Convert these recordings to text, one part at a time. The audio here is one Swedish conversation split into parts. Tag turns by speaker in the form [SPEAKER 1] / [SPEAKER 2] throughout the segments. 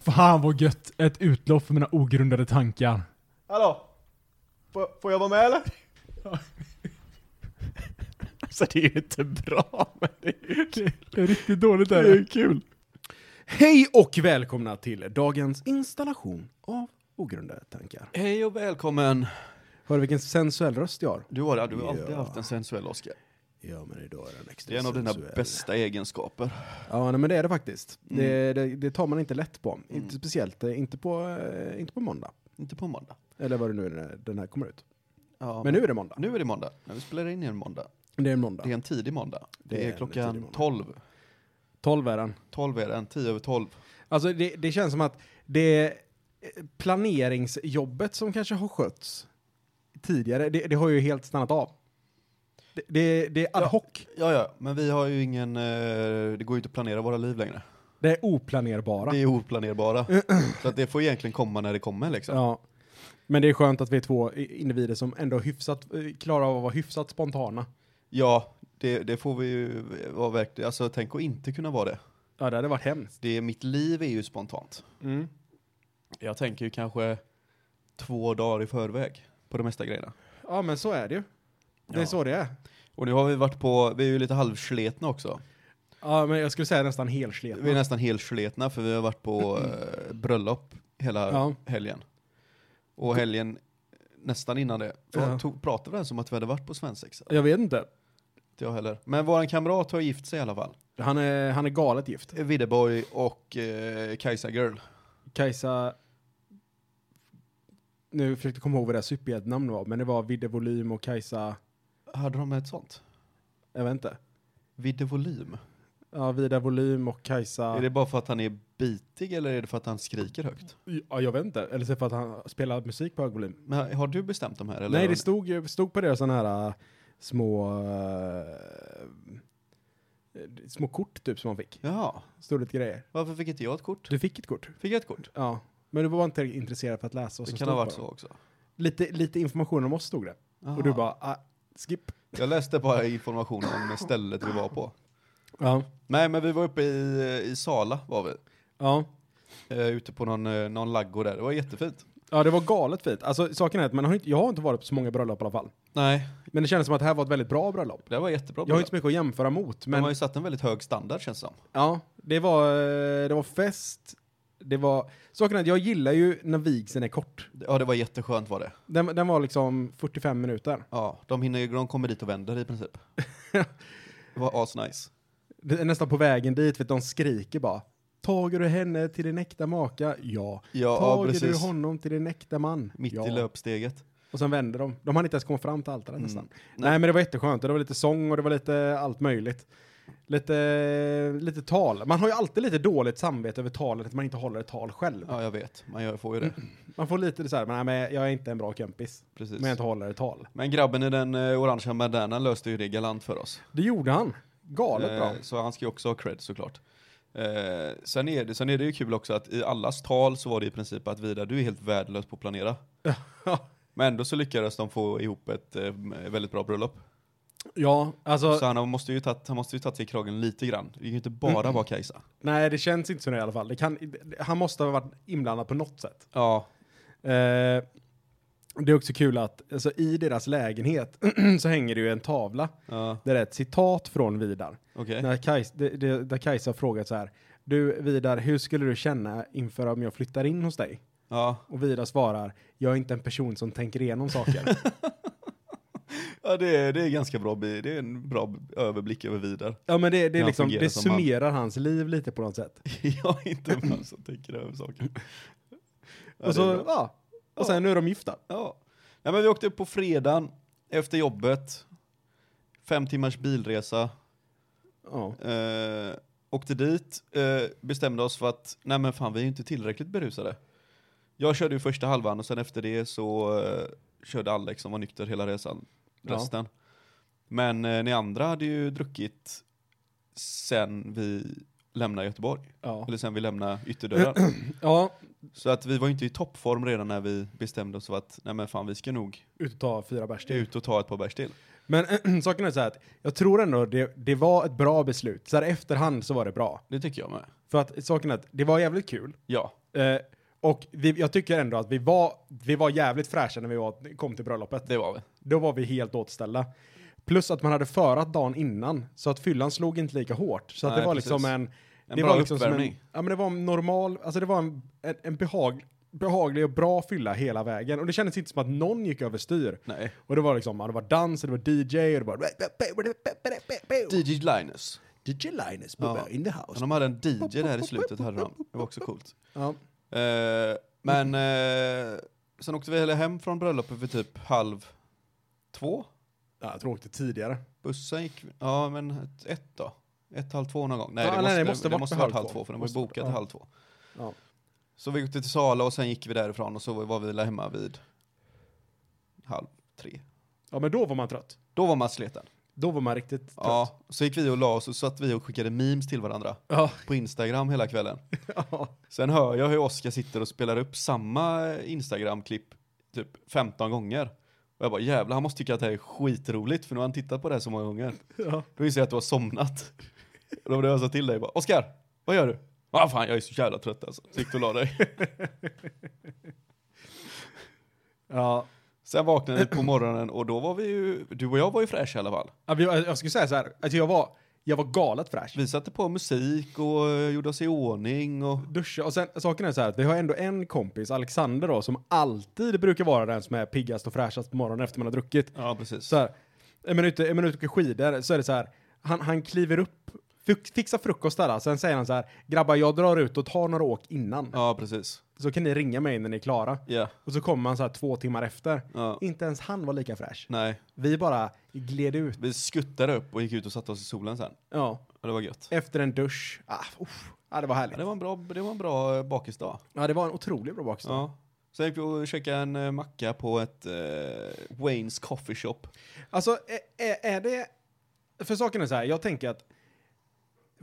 [SPEAKER 1] Fan vad gött! Ett utlopp för mina ogrundade tankar.
[SPEAKER 2] Hallå? Får, får jag vara med eller?
[SPEAKER 3] Alltså det är ju inte bra, men det är ju kul.
[SPEAKER 1] Det är riktigt dåligt
[SPEAKER 3] Det är ju kul. Hej och välkomna till dagens installation av Ogrundade tankar.
[SPEAKER 2] Hej och välkommen.
[SPEAKER 3] Hör du vilken sensuell röst jag har?
[SPEAKER 2] Du har, ja, du har alltid
[SPEAKER 3] Ja.
[SPEAKER 2] haft en sensuell Oscar.
[SPEAKER 3] Ja, men idag är den extra
[SPEAKER 2] Det är en av dina
[SPEAKER 3] sensuell.
[SPEAKER 2] bästa egenskaper.
[SPEAKER 3] Ja, nej, men det är det faktiskt.
[SPEAKER 2] Mm.
[SPEAKER 3] Det, det, det tar man inte lätt på.
[SPEAKER 2] Mm.
[SPEAKER 3] Inte speciellt, eh, inte på, eh, inte på måndag.
[SPEAKER 2] Inte på måndag.
[SPEAKER 3] Eller vad det nu är när den här kommer ut.
[SPEAKER 2] Ja,
[SPEAKER 3] Men nu är det måndag.
[SPEAKER 2] nu är det måndag. När vi spelar in i en måndag.
[SPEAKER 3] Det är en måndag.
[SPEAKER 2] Det är en tidig måndag. Det,
[SPEAKER 3] Det är
[SPEAKER 2] är,
[SPEAKER 3] en tidig
[SPEAKER 2] klockan
[SPEAKER 3] måndag.
[SPEAKER 2] 12.
[SPEAKER 3] 12 är den.
[SPEAKER 2] 12 är den, 10 över 12.
[SPEAKER 3] Alltså det, det känns som att det planeringsjobbet som kanske har skötts tidigare, det, det har ju helt stannat av. Det, det, det är ad
[SPEAKER 2] Ja.
[SPEAKER 3] hoc.
[SPEAKER 2] Ja, ja, men vi har ju ingen, eh, det går ju inte att planera våra liv längre.
[SPEAKER 3] Det är oplanerbara.
[SPEAKER 2] Det är oplanerbara. så att det får egentligen komma när det kommer liksom.
[SPEAKER 3] ja. Men det är skönt att vi är två i- individer som ändå hyfsat, eh, klarar av att vara hyfsat spontana.
[SPEAKER 2] Ja, det, det får vi ju vara verkligen, alltså tänk att inte kunna vara det.
[SPEAKER 3] Ja, det hade varit hemskt.
[SPEAKER 2] det. Mitt liv är ju spontant. Jag tänker ju kanske två dagar i förväg på de mesta grejerna.
[SPEAKER 3] Ja, men så är det ju. Det är
[SPEAKER 2] Ja.
[SPEAKER 3] så det är.
[SPEAKER 2] Och nu har vi varit på, vi är ju lite halvsletna också.
[SPEAKER 3] Ja, men jag skulle säga nästan
[SPEAKER 2] Vi är
[SPEAKER 3] helsleten.
[SPEAKER 2] nästan helsletna för vi har varit på eh, bröllop hela
[SPEAKER 3] Ja.
[SPEAKER 2] helgen. Och helgen nästan innan det.
[SPEAKER 3] Ja.
[SPEAKER 2] Ja. Tog, pratade vi ens om att vi hade varit på svensexa?
[SPEAKER 3] Jag vet inte.
[SPEAKER 2] Inte jag heller. Men våran kamrat har gift sig i alla fall.
[SPEAKER 3] Han är, han är galet gift.
[SPEAKER 2] Videborg och eh, Kajsa Girl.
[SPEAKER 3] Kajsa... Nu försökte jag komma ihåg vad deras superhjältenamn var, men det var Vidde Volym och Kajsa...
[SPEAKER 2] Hade de ett sånt?
[SPEAKER 3] Jag vet inte.
[SPEAKER 2] Vidde Volym.
[SPEAKER 3] Ja, Vida Volym och Kajsa...
[SPEAKER 2] Är det bara för att han är bitig eller är det för att han skriker högt?
[SPEAKER 3] Ja, jag vet inte. Eller så för att han spelar musik på hög volym.
[SPEAKER 2] Men har du bestämt de här? Eller
[SPEAKER 3] Nej, det stod, ju- stod på deras sådana här äh, små... äh, äh, små kort typ som man fick.
[SPEAKER 2] Jaha,
[SPEAKER 3] Stod lite grejer.
[SPEAKER 2] varför fick inte jag ett kort?
[SPEAKER 3] Du fick ett kort.
[SPEAKER 2] Fick jag ett kort?
[SPEAKER 3] Ja. Men du var inte intresserad för att läsa vad
[SPEAKER 2] Det
[SPEAKER 3] som
[SPEAKER 2] kan
[SPEAKER 3] stod
[SPEAKER 2] ha varit
[SPEAKER 3] på
[SPEAKER 2] så
[SPEAKER 3] dem.
[SPEAKER 2] också.
[SPEAKER 3] Lite, lite information om oss stod det. Och du
[SPEAKER 2] Aha.
[SPEAKER 3] bara, ah, skip.
[SPEAKER 2] Jag läste bara information om stället vi var på.
[SPEAKER 3] Ja.
[SPEAKER 2] Nej, men vi var uppe i, i Sala var vi.
[SPEAKER 3] Ja.
[SPEAKER 2] Eh, ute på någon, eh, någon laggård där. Det var jättefint.
[SPEAKER 3] Ja, det var galet fint. Alltså, saken är att man har inte, jag har inte varit på så många bröllop i alla fall.
[SPEAKER 2] Nej,
[SPEAKER 3] Men det kändes som att det här var ett väldigt bra bröllop.
[SPEAKER 2] det var jättebra.
[SPEAKER 3] Jag har inte så mycket att jämföra mot,
[SPEAKER 2] men... De har
[SPEAKER 3] men
[SPEAKER 2] ju satt en väldigt hög standard känns det som.
[SPEAKER 3] ja, det var, eh, det var fest. Det var, saken är att jag gillar ju när vigseln är kort.
[SPEAKER 2] Ja, det var jätteskönt var det.
[SPEAKER 3] Den, den var liksom 45 minuter.
[SPEAKER 2] Ja, de hinner ju, de kommer dit och vänder i princip. det var asnice.
[SPEAKER 3] Det är nästan på vägen dit, vet du, de skriker bara. Tager du henne till din äkta maka? Ja.
[SPEAKER 2] Ja, ja,
[SPEAKER 3] Tager du
[SPEAKER 2] precis.
[SPEAKER 3] honom till din äkta man?
[SPEAKER 2] Mitt
[SPEAKER 3] ja.
[SPEAKER 2] i löpsteget.
[SPEAKER 3] Och sen vänder de. De hann inte ens komma fram till altaret nästan. Nej.
[SPEAKER 2] Mm. Nej.
[SPEAKER 3] men det var jätteskönt. Och Det var lite sång och det var lite allt möjligt. Lite, lite tal. Man har ju alltid lite dåligt samvete över talet, att man inte håller ett tal själv.
[SPEAKER 2] Ja, jag vet. Man gör, får ju det.
[SPEAKER 3] Man får lite så här, men, nej, men jag är inte en bra kompis,
[SPEAKER 2] Precis.
[SPEAKER 3] men jag inte håller ett tal.
[SPEAKER 2] Men grabben i den eh, orangea bandanan löste ju det galant för oss.
[SPEAKER 3] Det gjorde han. Galet bra.
[SPEAKER 2] Eh, Så han ska ju också ha cred såklart. Eh, sen, är det, sen är det ju kul också att i allas tal så var det i princip att Vida, du är helt värdelös på att planera. Men ändå så lyckades de få ihop ett eh, väldigt bra bröllop.
[SPEAKER 3] Ja, alltså,
[SPEAKER 2] Så han måste ju tagit, han måste ju tagit sig i kragen lite grann. Det kan ju inte bara
[SPEAKER 3] Mm.
[SPEAKER 2] vara Kajsa.
[SPEAKER 3] nej det känns inte så nu i alla fall. Det kan, han måste ha varit inblandad på något sätt.
[SPEAKER 2] Ja.
[SPEAKER 3] Eh, det är också kul att alltså, i deras lägenhet så hänger det ju en tavla
[SPEAKER 2] ja
[SPEAKER 3] där det är ett citat från Vidar.
[SPEAKER 2] Okej.
[SPEAKER 3] När Kajs, det, det, där Kajsa har frågat så här. Du Vidar, hur skulle du känna inför om jag flyttar in hos dig?
[SPEAKER 2] Ja.
[SPEAKER 3] Och Vidar svarar, jag är inte en person som tänker igenom saker.
[SPEAKER 2] ja, det är, det är ganska bra. bi- Det är en bra överblick över Vidar.
[SPEAKER 3] ja men det, det, är
[SPEAKER 2] Han
[SPEAKER 3] liksom,
[SPEAKER 2] fungerar
[SPEAKER 3] det
[SPEAKER 2] som man.
[SPEAKER 3] summerar hans liv lite på något sätt.
[SPEAKER 2] Jag är inte en man som tänker över saker. Ja,
[SPEAKER 3] och,
[SPEAKER 2] det är
[SPEAKER 3] så,
[SPEAKER 2] bra.
[SPEAKER 3] ja, och sen nu är de gifta.
[SPEAKER 2] Ja. Nej, men vi åkte upp på fredagen efter jobbet. Fem timmars bilresa.
[SPEAKER 3] Ja.
[SPEAKER 2] Eh, åkte dit, eh, bestämde oss för att nej men fan vi är ju inte tillräckligt berusade. Jag körde ju första halvan och sen efter det så eh, körde Alex som var nykter hela resan.
[SPEAKER 3] Ja.
[SPEAKER 2] Resten. Men eh, ni andra hade ju druckit sen vi lämnade Göteborg.
[SPEAKER 3] Ja.
[SPEAKER 2] Eller sen vi lämnade ytterdörren.
[SPEAKER 3] ja,
[SPEAKER 2] Så att vi var ju inte i toppform redan när vi bestämde oss för att nej men fan vi ska nog
[SPEAKER 3] ut och ta fyra bärs till.
[SPEAKER 2] ut och ta ett par bärs till.
[SPEAKER 3] Men saken är så här att jag tror ändå det, det var ett bra beslut. Så här efterhand så var det bra.
[SPEAKER 2] Det tycker jag med.
[SPEAKER 3] För att saken är att det var jävligt kul.
[SPEAKER 2] Ja.
[SPEAKER 3] Eh, och vi, jag tycker ändå att vi var, vi var jävligt fräscha när vi var, kom till bröllopet.
[SPEAKER 2] Det var vi.
[SPEAKER 3] Då var vi helt återställda. Plus att man hade förat dagen innan, så att fyllan slog inte lika hårt. Så att
[SPEAKER 2] Nej,
[SPEAKER 3] det var
[SPEAKER 2] precis.
[SPEAKER 3] liksom en...
[SPEAKER 2] En
[SPEAKER 3] det
[SPEAKER 2] bra
[SPEAKER 3] var liksom som
[SPEAKER 2] uppvärmning.
[SPEAKER 3] En, ja men det var en normal, alltså det var en, en, en behag, behaglig och bra fylla hela vägen. Och det kändes inte som att någon gick överstyr.
[SPEAKER 2] Nej.
[SPEAKER 3] Och det var liksom, ja, det var dans, och det var DJ och det var...
[SPEAKER 2] DJ Linus.
[SPEAKER 3] DJ Linus,
[SPEAKER 2] Bubba,
[SPEAKER 3] in the
[SPEAKER 2] Men
[SPEAKER 3] house.
[SPEAKER 2] de hade en DJ där i slutet, hade de. Det var också coolt.
[SPEAKER 3] Ja.
[SPEAKER 2] Eh, men eh, sen åkte vi hem från bröllopet vid typ halv två.
[SPEAKER 3] Ja, jag tror jag åkte tidigare.
[SPEAKER 2] Bussen gick, ja men ett, ett då? Ett, halv två någon gång? Nej,
[SPEAKER 3] Ja,
[SPEAKER 2] det,
[SPEAKER 3] nej,
[SPEAKER 2] måste,
[SPEAKER 3] det
[SPEAKER 2] det
[SPEAKER 3] måste
[SPEAKER 2] måste,
[SPEAKER 3] varit
[SPEAKER 2] varit halv två, för den var ju
[SPEAKER 3] Måste varit,
[SPEAKER 2] bokad till
[SPEAKER 3] ja.
[SPEAKER 2] halv två.
[SPEAKER 3] Ja.
[SPEAKER 2] Så vi åkte till Sala och sen gick vi därifrån och så var vi hemma vid halv tre.
[SPEAKER 3] ja, men då var man trött.
[SPEAKER 2] Då var man sliten.
[SPEAKER 3] Då var man riktigt trött.
[SPEAKER 2] Ja, så gick vi och la oss och satt vi och skickade memes till varandra
[SPEAKER 3] Ja.
[SPEAKER 2] på Instagram hela kvällen.
[SPEAKER 3] Ja.
[SPEAKER 2] Sen hör jag hur Oskar sitter och spelar upp samma Instagram-klipp typ 15 gånger. Och jag bara jävlar, han måste tycka att det här är skitroligt för nu har han tittat på det här så många gånger.
[SPEAKER 3] Ja.
[SPEAKER 2] Då inser jag att du har somnat. Och då blev jag så till dig bara, Oskar, vad gör du? Ah, fan, jag är så jävla trött alltså. Så gick du och la dig.
[SPEAKER 3] ja.
[SPEAKER 2] Sen vaknade vi på morgonen och då var vi ju, du och jag var ju fräscha i alla fall.
[SPEAKER 3] Ja, men Jag, jag skulle säga så här, att jag var, jag var galet fräsch.
[SPEAKER 2] Vi satte på musik och eh, gjorde oss i ordning och
[SPEAKER 3] Duscha, och sen saken är så här att vi har ändå en kompis, Alexander då, som alltid brukar vara den som är piggast och fräschast på morgonen efter man har druckit.
[SPEAKER 2] ja precis.
[SPEAKER 3] Så här, är man ute, är man ute och åker skidor så är det så här, han, han kliver upp, fux- fixar frukost där, sen säger han så här, grabbar jag drar ut och tar några åk innan,
[SPEAKER 2] Ja precis.
[SPEAKER 3] så kan ni ringa mig när ni är klara.
[SPEAKER 2] Ja.
[SPEAKER 3] Och så kommer han så här två timmar efter.
[SPEAKER 2] ja.
[SPEAKER 3] Inte ens han var lika fräsch.
[SPEAKER 2] Nej,
[SPEAKER 3] Vi bara gled ut.
[SPEAKER 2] vi skuttade upp och gick ut och satte oss i solen sen.
[SPEAKER 3] Ja.
[SPEAKER 2] Och det var gött.
[SPEAKER 3] Efter en dusch. Ah, uff. ah, det var härligt.
[SPEAKER 2] Ja, det var en bra, det var en bra eh, bakisdag.
[SPEAKER 3] Ja, det var en otroligt bra bakstad.
[SPEAKER 2] Ja. Sen gick vi och käkade en eh, macka på ett eh, Wayne's Coffee Shop.
[SPEAKER 3] Alltså, är, är- är det... För saken är så här, jag tänker att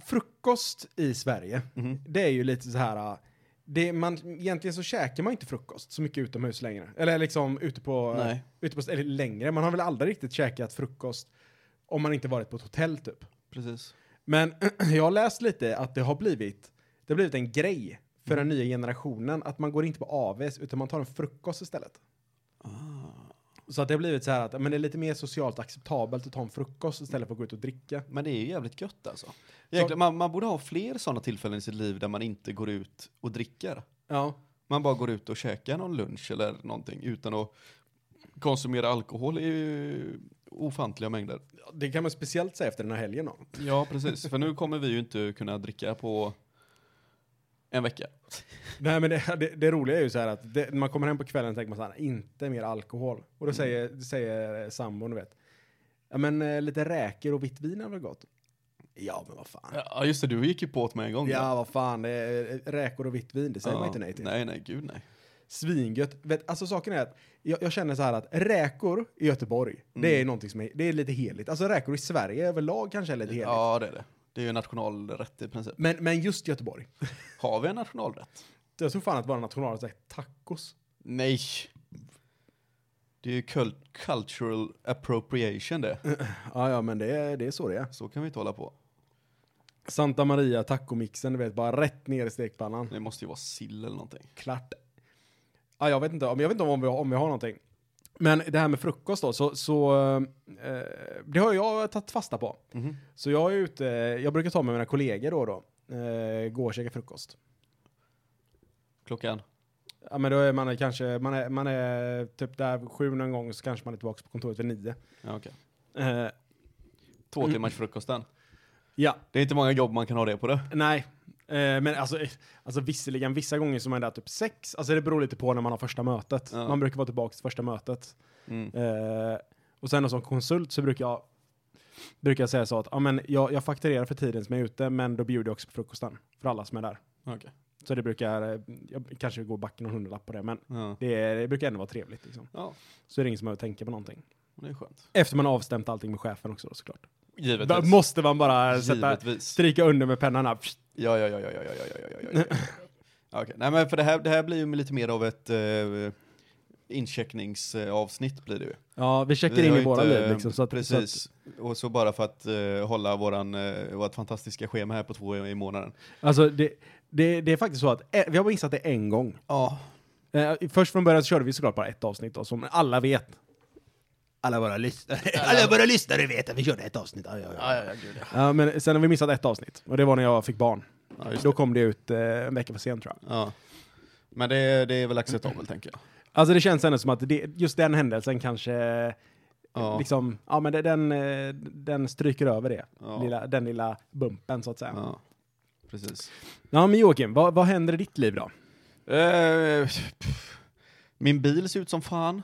[SPEAKER 3] frukost i Sverige, det är ju lite så här... äh, Det, man, egentligen så käkar man inte frukost så mycket utomhus längre. Eller liksom ute på...
[SPEAKER 2] Nej.
[SPEAKER 3] Ute på eller längre. Man har väl aldrig riktigt käkat frukost om man inte varit på ett hotell typ.
[SPEAKER 2] Precis.
[SPEAKER 3] Men jag har läst lite att det har blivit, det har blivit en grej för den nya generationen att man går inte på AVs utan man tar en frukost istället. Så att det har blivit så här att men det är lite mer socialt acceptabelt att ta en frukost istället för att gå ut och dricka.
[SPEAKER 2] Men det är ju jävligt gött alltså. Jäklar, man, man borde ha fler sådana tillfällen i sitt liv där man inte går ut och dricker.
[SPEAKER 3] Ja.
[SPEAKER 2] Man bara går ut och käkar någon lunch eller någonting utan att konsumera alkohol i eh, ofantliga mängder.
[SPEAKER 3] Det kan man speciellt säga efter den här helgen då.
[SPEAKER 2] Ja, precis. För nu kommer vi ju inte kunna dricka på en vecka.
[SPEAKER 3] Nej men det, det, det roliga är ju så här att det, när man kommer hem på kvällen tänker man så här, inte mer alkohol. Och då säger, säger sambon, du vet. Ja men eh, lite räkor och vitt vin är väl gott? Ja men vad fan.
[SPEAKER 2] Ja, just det. Du gick ju på åt mig en gång.
[SPEAKER 3] Ja, vad fan. Det är eh, räkor och vitt vin, det säger man inte nej till.
[SPEAKER 2] Nej, nej, gud nej.
[SPEAKER 3] Svingött. Vet, alltså saken är att jag, jag känner så här att räkor i Göteborg, det är någonting som är, det är lite heligt. Alltså räkor i Sverige överlag kanske är lite heligt.
[SPEAKER 2] Ja, det är det. Det är ju en nationalrätt i princip.
[SPEAKER 3] Men, men just Göteborg.
[SPEAKER 2] Har vi en nationalrätt?
[SPEAKER 3] Jag tror fan att vår nationalrätt är tacos.
[SPEAKER 2] Nej. Det är ju cul- cultural appropriation det.
[SPEAKER 3] Ja, ja, men det är, det är så det är.
[SPEAKER 2] Så kan vi inte hålla på.
[SPEAKER 3] Santa Maria tacomixen, du vet, bara rätt ner i stekpannan.
[SPEAKER 2] Det måste ju vara sill eller någonting.
[SPEAKER 3] klart. Ja, jag vet inte, om- jag vet inte om vi har, om vi har någonting. Men det här med frukost då, så, så eh, det har jag tagit fasta på.
[SPEAKER 2] Mm-hmm.
[SPEAKER 3] Så jag är ute, jag brukar ta med mina kollegor då och då, eh, gå och käka frukost.
[SPEAKER 2] Klockan?
[SPEAKER 3] Ja men då är man kanske, man är, man är typ där sju någon gång så kanske man är tillbaka på kontoret vid nio.
[SPEAKER 2] Ja, okej.
[SPEAKER 3] Eh,
[SPEAKER 2] Två timmars frukosten.
[SPEAKER 3] ja,
[SPEAKER 2] Det är inte många jobb man kan ha det på det.
[SPEAKER 3] nej. Eh, men alltså, eh, alltså visserligen, vissa gånger så är man där typ sex, alltså det beror lite på när man har första mötet.
[SPEAKER 2] Ja.
[SPEAKER 3] Man brukar vara tillbaka till första mötet.
[SPEAKER 2] Mm.
[SPEAKER 3] Eh, och sen som konsult så brukar jag, brukar jag säga så att ja, men jag, jag fakturerar för tiden som jag är ute, men då bjuder jag också på frukosten för alla som är där.
[SPEAKER 2] Okej.
[SPEAKER 3] Så det brukar, eh, jag kanske går back någon hundralapp på det, men
[SPEAKER 2] Ja.
[SPEAKER 3] det, är, det brukar ändå vara trevligt. Liksom.
[SPEAKER 2] ja,
[SPEAKER 3] Så är det ingen som behöver tänka på någonting.
[SPEAKER 2] det är skönt.
[SPEAKER 3] Efter man har avstämt allting med chefen också då, såklart. Då
[SPEAKER 2] Givetvis.
[SPEAKER 3] måste man bara sätta,
[SPEAKER 2] Givetvis.
[SPEAKER 3] stryka under med pennan här. Pst.
[SPEAKER 2] Ja, ja, ja, ja, ja, ja, ja, ja, ja, ja, ja. ja. Okej, nej men för det här, det här blir ju lite mer av ett eh, incheckningsavsnitt blir det ju.
[SPEAKER 3] Ja, vi checkar
[SPEAKER 2] Vi
[SPEAKER 3] in
[SPEAKER 2] har
[SPEAKER 3] i
[SPEAKER 2] ju
[SPEAKER 3] våra
[SPEAKER 2] inte-
[SPEAKER 3] liv liksom. Så att, Så att,
[SPEAKER 2] Precis, och så bara för att eh, hålla våran, eh, vårt fantastiska schema här på två i, i månaden.
[SPEAKER 3] alltså det, Det, det är faktiskt så att eh, vi har bara insett det en gång.
[SPEAKER 2] Ja.
[SPEAKER 3] Eh, först från början så körde vi såklart bara ett avsnitt då, som alla vet. Alla våra lyssnare, alla våra lyssnare vet att vi körde ett avsnitt. Ja, ja,
[SPEAKER 2] Ja, ja, ja, gud, ja.
[SPEAKER 3] Ja, men sen har vi missat ett avsnitt, och det var när jag fick barn.
[SPEAKER 2] Ja, just
[SPEAKER 3] Då kom det ut eh, en vecka för sent tror jag.
[SPEAKER 2] ja. Men det, det är väl acceptabelt, tänker jag.
[SPEAKER 3] Alltså det känns ändå som att det, just den händelsen kanske, eh,
[SPEAKER 2] Ja.
[SPEAKER 3] liksom, ja men det, den, eh, den stryker över det.
[SPEAKER 2] Ja.
[SPEAKER 3] Lilla, den lilla bumpen så att säga. Ja,
[SPEAKER 2] Ja. Precis.
[SPEAKER 3] men Joakim, vad, vad händer i ditt liv då?
[SPEAKER 2] Eh, pff. min bil ser ut som fan.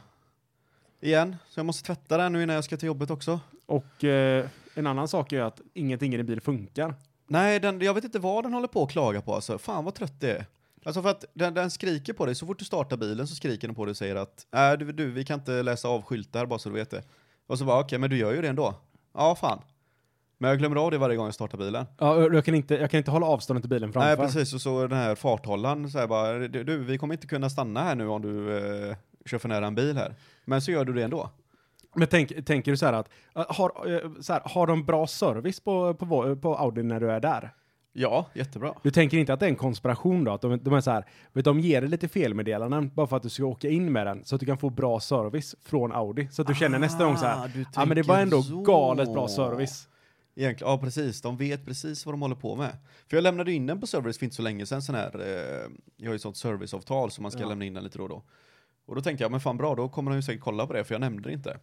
[SPEAKER 2] Igen. Så jag måste tvätta den nu innan jag ska till jobbet också.
[SPEAKER 3] Och eh, en annan sak är att ingenting i din bil funkar.
[SPEAKER 2] Nej, den, jag vet inte vad den håller på att klaga på alltså. Fan vad trött det är. Alltså för att den, den skriker på dig, så fort du startar bilen så skriker den på dig och säger att nej du, du, vi kan inte läsa av skyltar bara så du vet det. Och så bara okej, men du gör ju det ändå. Ja, fan. Men jag glömmer av det varje gång jag startar bilen.
[SPEAKER 3] Ja, jag, kan inte, jag kan inte hålla avståndet till bilen
[SPEAKER 2] Nej,
[SPEAKER 3] framför.
[SPEAKER 2] precis. Och så den här farthållaren säger bara, du, du, vi kommer inte kunna stanna här nu om du eh, kör för nära en bil här. Men så gör du det ändå.
[SPEAKER 3] Men tänk, tänker du så här att, eh, har, eh, så här, har de bra service på, på, vår- på Audi när du är där?
[SPEAKER 2] Ja, jättebra.
[SPEAKER 3] Du tänker inte att det är en konspiration då? Att de, de är så här, vet, du, de ger dig lite felmeddelanden bara för att du ska åka in med den så att du kan få bra service från Audi. Så att du känner nästa gång så
[SPEAKER 2] Ah,
[SPEAKER 3] här,
[SPEAKER 2] du
[SPEAKER 3] ja men det var
[SPEAKER 2] tänker
[SPEAKER 3] ändå
[SPEAKER 2] så."
[SPEAKER 3] galet bra service.
[SPEAKER 2] Egentligen, ja precis, de vet precis vad de håller på med. För jag lämnade in den på service för inte så länge sedan, sån här, eh, jag har ju sånt serviceavtal som man ska
[SPEAKER 3] Ja.
[SPEAKER 2] lämna in den lite då och då. Och då tänkte jag, men fan bra, då kommer de ju säkert kolla på det, för jag nämnde det inte.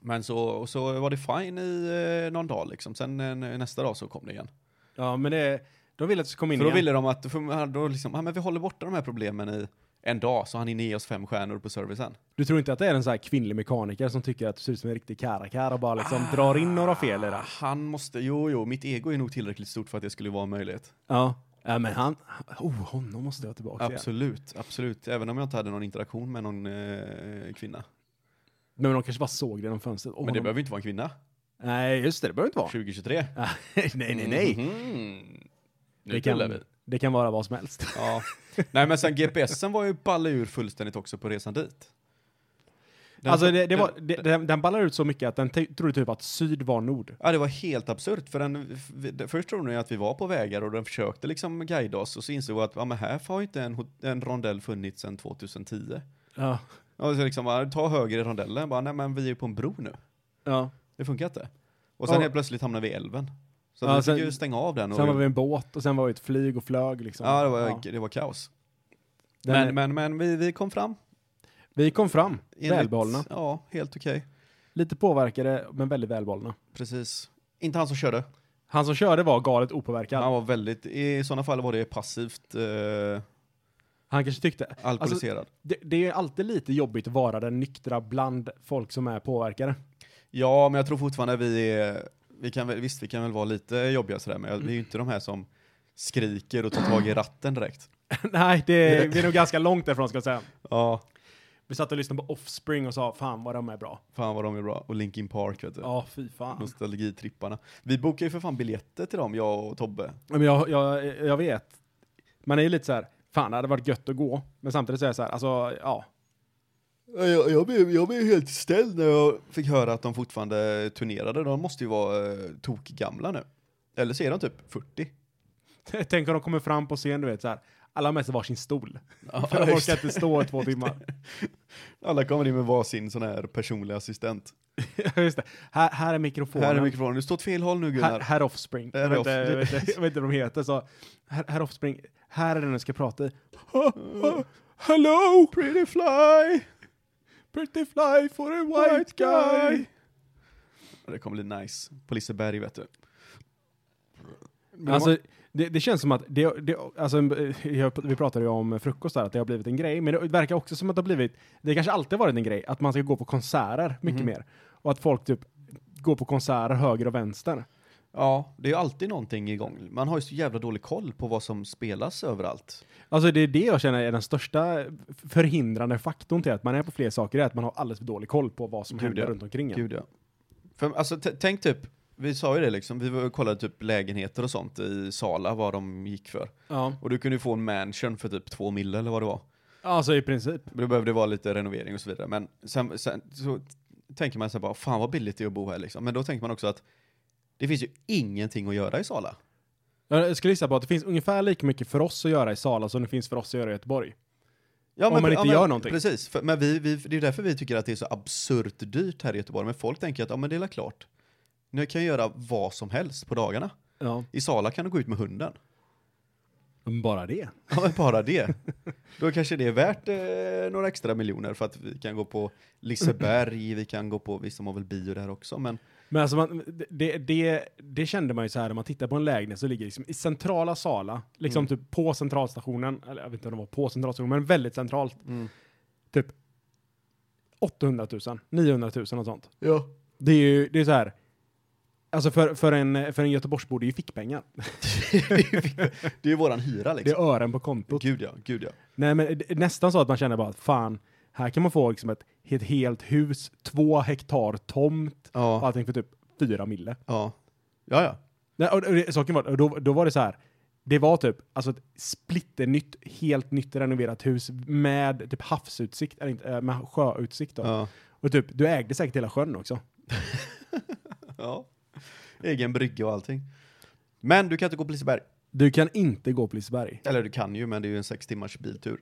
[SPEAKER 2] Men så, och så var det fine i eh, någon dag liksom, sen eh, nästa dag så kom det igen.
[SPEAKER 3] Ja men det, de vill att du ska komma in
[SPEAKER 2] För då
[SPEAKER 3] igen.
[SPEAKER 2] ville de att, för då liksom, ja, men vi håller borta de här problemen i en dag, så han hinner ge oss fem stjärnor på servicen.
[SPEAKER 3] Du tror inte att det är en så här kvinnlig mekaniker som tycker att du ser ut som en riktig karakär och bara liksom
[SPEAKER 2] Ah.
[SPEAKER 3] drar in några fel i det?
[SPEAKER 2] Han måste, jo jo, mitt ego är nog tillräckligt stort för att det skulle vara en möjlighet.
[SPEAKER 3] Ja. ja men han, oh honom måste jag ha tillbaka igen.
[SPEAKER 2] Absolut, absolut. Även om jag inte hade någon interaktion med någon eh, kvinna.
[SPEAKER 3] Men de kanske bara såg det genom fönstret. Åh,
[SPEAKER 2] Men det
[SPEAKER 3] honom-
[SPEAKER 2] behöver inte vara en kvinna.
[SPEAKER 3] Nej just det, det behöver inte vara.
[SPEAKER 2] 2023.
[SPEAKER 3] nej nej nej.
[SPEAKER 2] Mhm. Mm, Nu
[SPEAKER 3] Det kan,
[SPEAKER 2] vi.
[SPEAKER 3] det kan vara vad som helst.
[SPEAKER 2] Ja. Nej men sen GPSen var ju balla ur fullständigt också på resan dit. Den-
[SPEAKER 3] alltså det, det
[SPEAKER 2] den-
[SPEAKER 3] var, det, den, den ballar ut så mycket att den te- trodde typ att syd var nord.
[SPEAKER 2] Ja det var helt absurt för den, f- det- först trodde den ju att vi var på vägar och den försökte liksom guida oss och så insåg vi att ja, men här har ju inte en, hot- en rondell funnits sedan 2010.
[SPEAKER 3] Ja.
[SPEAKER 2] Och så liksom bara, ta höger i rondellen, bara nej men vi är ju på en bro nu.
[SPEAKER 3] ja.
[SPEAKER 2] Det funkar inte. Och sen
[SPEAKER 3] Ja.
[SPEAKER 2] helt plötsligt hamnade vi i älven. Så
[SPEAKER 3] Ja,
[SPEAKER 2] vi fick
[SPEAKER 3] sen-
[SPEAKER 2] ju stänga av den. Och,
[SPEAKER 3] Sen var vi en båt och sen var vi ett flyg och flög liksom.
[SPEAKER 2] ja, det var,
[SPEAKER 3] Ja.
[SPEAKER 2] det var kaos.
[SPEAKER 3] Den är-
[SPEAKER 2] Men, men, men vi, vi kom fram.
[SPEAKER 3] Vi kom fram,
[SPEAKER 2] enligt-
[SPEAKER 3] välbehållna.
[SPEAKER 2] Ja, helt okej.
[SPEAKER 3] Lite påverkade, men väldigt välbehållna.
[SPEAKER 2] Precis. Inte han som körde.
[SPEAKER 3] Han som körde var galet opåverkad.
[SPEAKER 2] Han var väldigt, i sådana fall var det passivt eh,
[SPEAKER 3] Han kanske tyckte...
[SPEAKER 2] alkoholiserad.
[SPEAKER 3] Det, det är alltid lite jobbigt att vara den nyktra bland folk som är påverkade.
[SPEAKER 2] ja, men jag tror fortfarande vi är, vi kan väl, visst vi kan väl vara lite jobbiga sådär, men jag- vi är ju inte de här som skriker och tar tag i ratten direkt.
[SPEAKER 3] Nej, det, vi är nog ganska långt därifrån ska jag säga.
[SPEAKER 2] Ja,
[SPEAKER 3] Vi satt och lyssnade på Offspring och sa fan vad de är bra.
[SPEAKER 2] fan vad de är bra. Och Linkin Park vet du.
[SPEAKER 3] Ja, fy fan.
[SPEAKER 2] Nostalgitripparna. Vi bokar ju för fan biljetter till dem, jag och Tobbe.
[SPEAKER 3] Ja, Men jag, jag, jag vet. Man är ju lite så här, fan det hade varit gött att gå. Men samtidigt så är jag så här, alltså ja.
[SPEAKER 2] Jag, jag, blev, jag blev helt ställd när jag fick höra att de fortfarande turnerade. De måste ju vara eh, tokgamla nu. Eller så är de typ 40.
[SPEAKER 3] Tänk om de kommer fram på scen, du vet så här. Alla har med sig varsin stol.
[SPEAKER 2] Ja,
[SPEAKER 3] För de
[SPEAKER 2] just
[SPEAKER 3] orkar inte stå i två timmar.
[SPEAKER 2] Alla kommer in med varsin sån här personlig assistent.
[SPEAKER 3] Just det. Här, här är mikrofonen.
[SPEAKER 2] Här är mikrofonen, du står åt fel håll nu
[SPEAKER 3] Här,
[SPEAKER 2] Gunnar.
[SPEAKER 3] här Offspring.
[SPEAKER 2] Här
[SPEAKER 3] jag, vet inte,
[SPEAKER 2] Off-
[SPEAKER 3] jag, vet, inte- jag vet inte vad de heter. Så, här, här Offspring. Här är den du ska prata i. Ha, ha, Hello!
[SPEAKER 2] Pretty fly,
[SPEAKER 3] Pretty fly for a white guy!
[SPEAKER 2] Det kommer bli nice. På Liseberg vet du. Men
[SPEAKER 3] Alltså, det, det känns som att, det, det, alltså, jag, vi pratade ju om frukost där, att det har blivit en grej, men det verkar också som att det har blivit, det kanske alltid har varit en grej, att man ska gå på konserter mycket
[SPEAKER 2] Mhm.
[SPEAKER 3] mer. Och att folk typ går på konserter höger och vänster.
[SPEAKER 2] ja, det är ju alltid någonting igång. Man har ju så jävla dålig koll på vad som spelas överallt.
[SPEAKER 3] Alltså det är det jag känner är den största förhindrande faktorn till att man är på fler saker, är att man har alldeles för dålig koll på vad som
[SPEAKER 2] Gud,
[SPEAKER 3] händer
[SPEAKER 2] ja.
[SPEAKER 3] runt omkring en.
[SPEAKER 2] Gud ja. För, alltså, t- tänk typ, vi sa ju det liksom, vi var- kollade typ lägenheter och sånt i Sala, vad de gick för.
[SPEAKER 3] Ja,
[SPEAKER 2] Och du kunde ju få en mansion för typ två mille eller vad det var.
[SPEAKER 3] alltså i princip.
[SPEAKER 2] Men då behövde det vara lite renovering och så vidare. Men sen, sen så tänker man sig bara, fan vad billigt det är att bo här liksom. Men då tänker man också att det finns ju ingenting att göra i Sala.
[SPEAKER 3] Jag skulle gissa på att det finns ungefär lika mycket för oss att göra i Sala som det finns för oss att göra i Göteborg.
[SPEAKER 2] Ja,
[SPEAKER 3] Om man inte gör någonting.
[SPEAKER 2] Precis, för, men vi, vi, det är därför vi tycker att det är så absurt dyrt här i Göteborg. Men folk tänker att ja, men det är väl klart. Nu kan jag göra vad som helst på dagarna.
[SPEAKER 3] Ja.
[SPEAKER 2] I Sala kan du gå ut med hunden.
[SPEAKER 3] Bara det.
[SPEAKER 2] Ja, men bara det. Då kanske det är värt eh, några extra miljoner för att vi kan gå på Liseberg, vi kan gå på, visst de har väl bio där också, men
[SPEAKER 3] Men alltså man, det, det, det kände man ju så här när man tittar på en lägenhet så ligger liksom i centrala Sala, liksom typ på centralstationen, eller jag vet inte om det var på centralstationen, men väldigt centralt.
[SPEAKER 2] Mm.
[SPEAKER 3] Typ 800 000, 900 000 och sånt. Ja. Det är ju, det är så här, alltså för, för, en, för en Göteborgsbo, det är ju fickpengar.
[SPEAKER 2] det är ju våran hyra
[SPEAKER 3] Det
[SPEAKER 2] liksom.
[SPEAKER 3] är ören på kontot.
[SPEAKER 2] Gud ja, gud ja.
[SPEAKER 3] Nej men det är nästan så att man känner bara att fan, här kan man få liksom ett, ett helt hus, två hektar tomt, och
[SPEAKER 2] Ja,
[SPEAKER 3] allting för typ fyra mille.
[SPEAKER 2] ja, ja. ja.
[SPEAKER 3] Nej, och, och det, saken var, och då, då var det så här. Det var typ alltså ett splitternytt, helt nytt renoverat hus med typ havsutsikt, eller inte, eh, med sjöutsikt då.
[SPEAKER 2] ja.
[SPEAKER 3] Och typ, du ägde säkert hela sjön också.
[SPEAKER 2] ja. Egen brygga och allting. Men du kan inte gå på Liseberg.
[SPEAKER 3] Du kan inte gå på Liseberg.
[SPEAKER 2] Eller du kan ju, men det är ju en sex timmars biltur.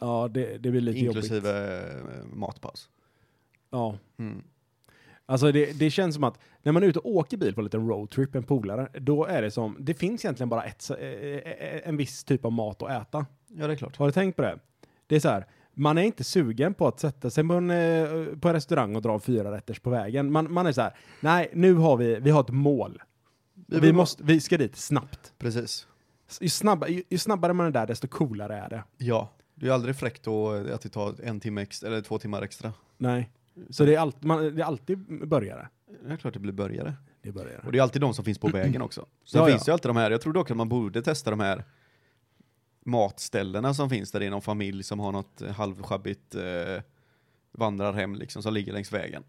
[SPEAKER 3] Ja, det, det blir lite jobbigt.
[SPEAKER 2] Inklusive eh, matpaus.
[SPEAKER 3] Ja.
[SPEAKER 2] Mm.
[SPEAKER 3] Alltså det, det känns som att när man är ute och åker bil på en liten roadtrip, en polare, då är det som, det finns egentligen bara ett, eh, eh, en viss typ av mat att äta.
[SPEAKER 2] Ja, det är klart.
[SPEAKER 3] Har du tänkt på det? Det är så här, man är inte sugen på att sätta sig på en, eh, på en restaurang och dra fyra rätters på vägen. Man, man är så här, nej, nu har vi, vi har ett mål. Vi,
[SPEAKER 2] vill-
[SPEAKER 3] måste, vi ska dit snabbt.
[SPEAKER 2] Precis.
[SPEAKER 3] S- Ju, snabba, ju, ju snabbare man är där, desto coolare är det.
[SPEAKER 2] Ja. Det är ju aldrig fräckt att, att det tar en timme extra, eller två timmar extra.
[SPEAKER 3] Nej. Så det är, allt, man, det är alltid börjare.
[SPEAKER 2] Det är klart det blir börjare.
[SPEAKER 3] Det är börjare.
[SPEAKER 2] Och det är alltid de som finns på vägen också. Sen
[SPEAKER 3] Ja, ja.
[SPEAKER 2] finns ju alltid de här, jag tror dock att man borde testa de här matställena som finns där det är någon familj som har något eh, halvsjabbigt eh, vandrarhem liksom som ligger längs vägen.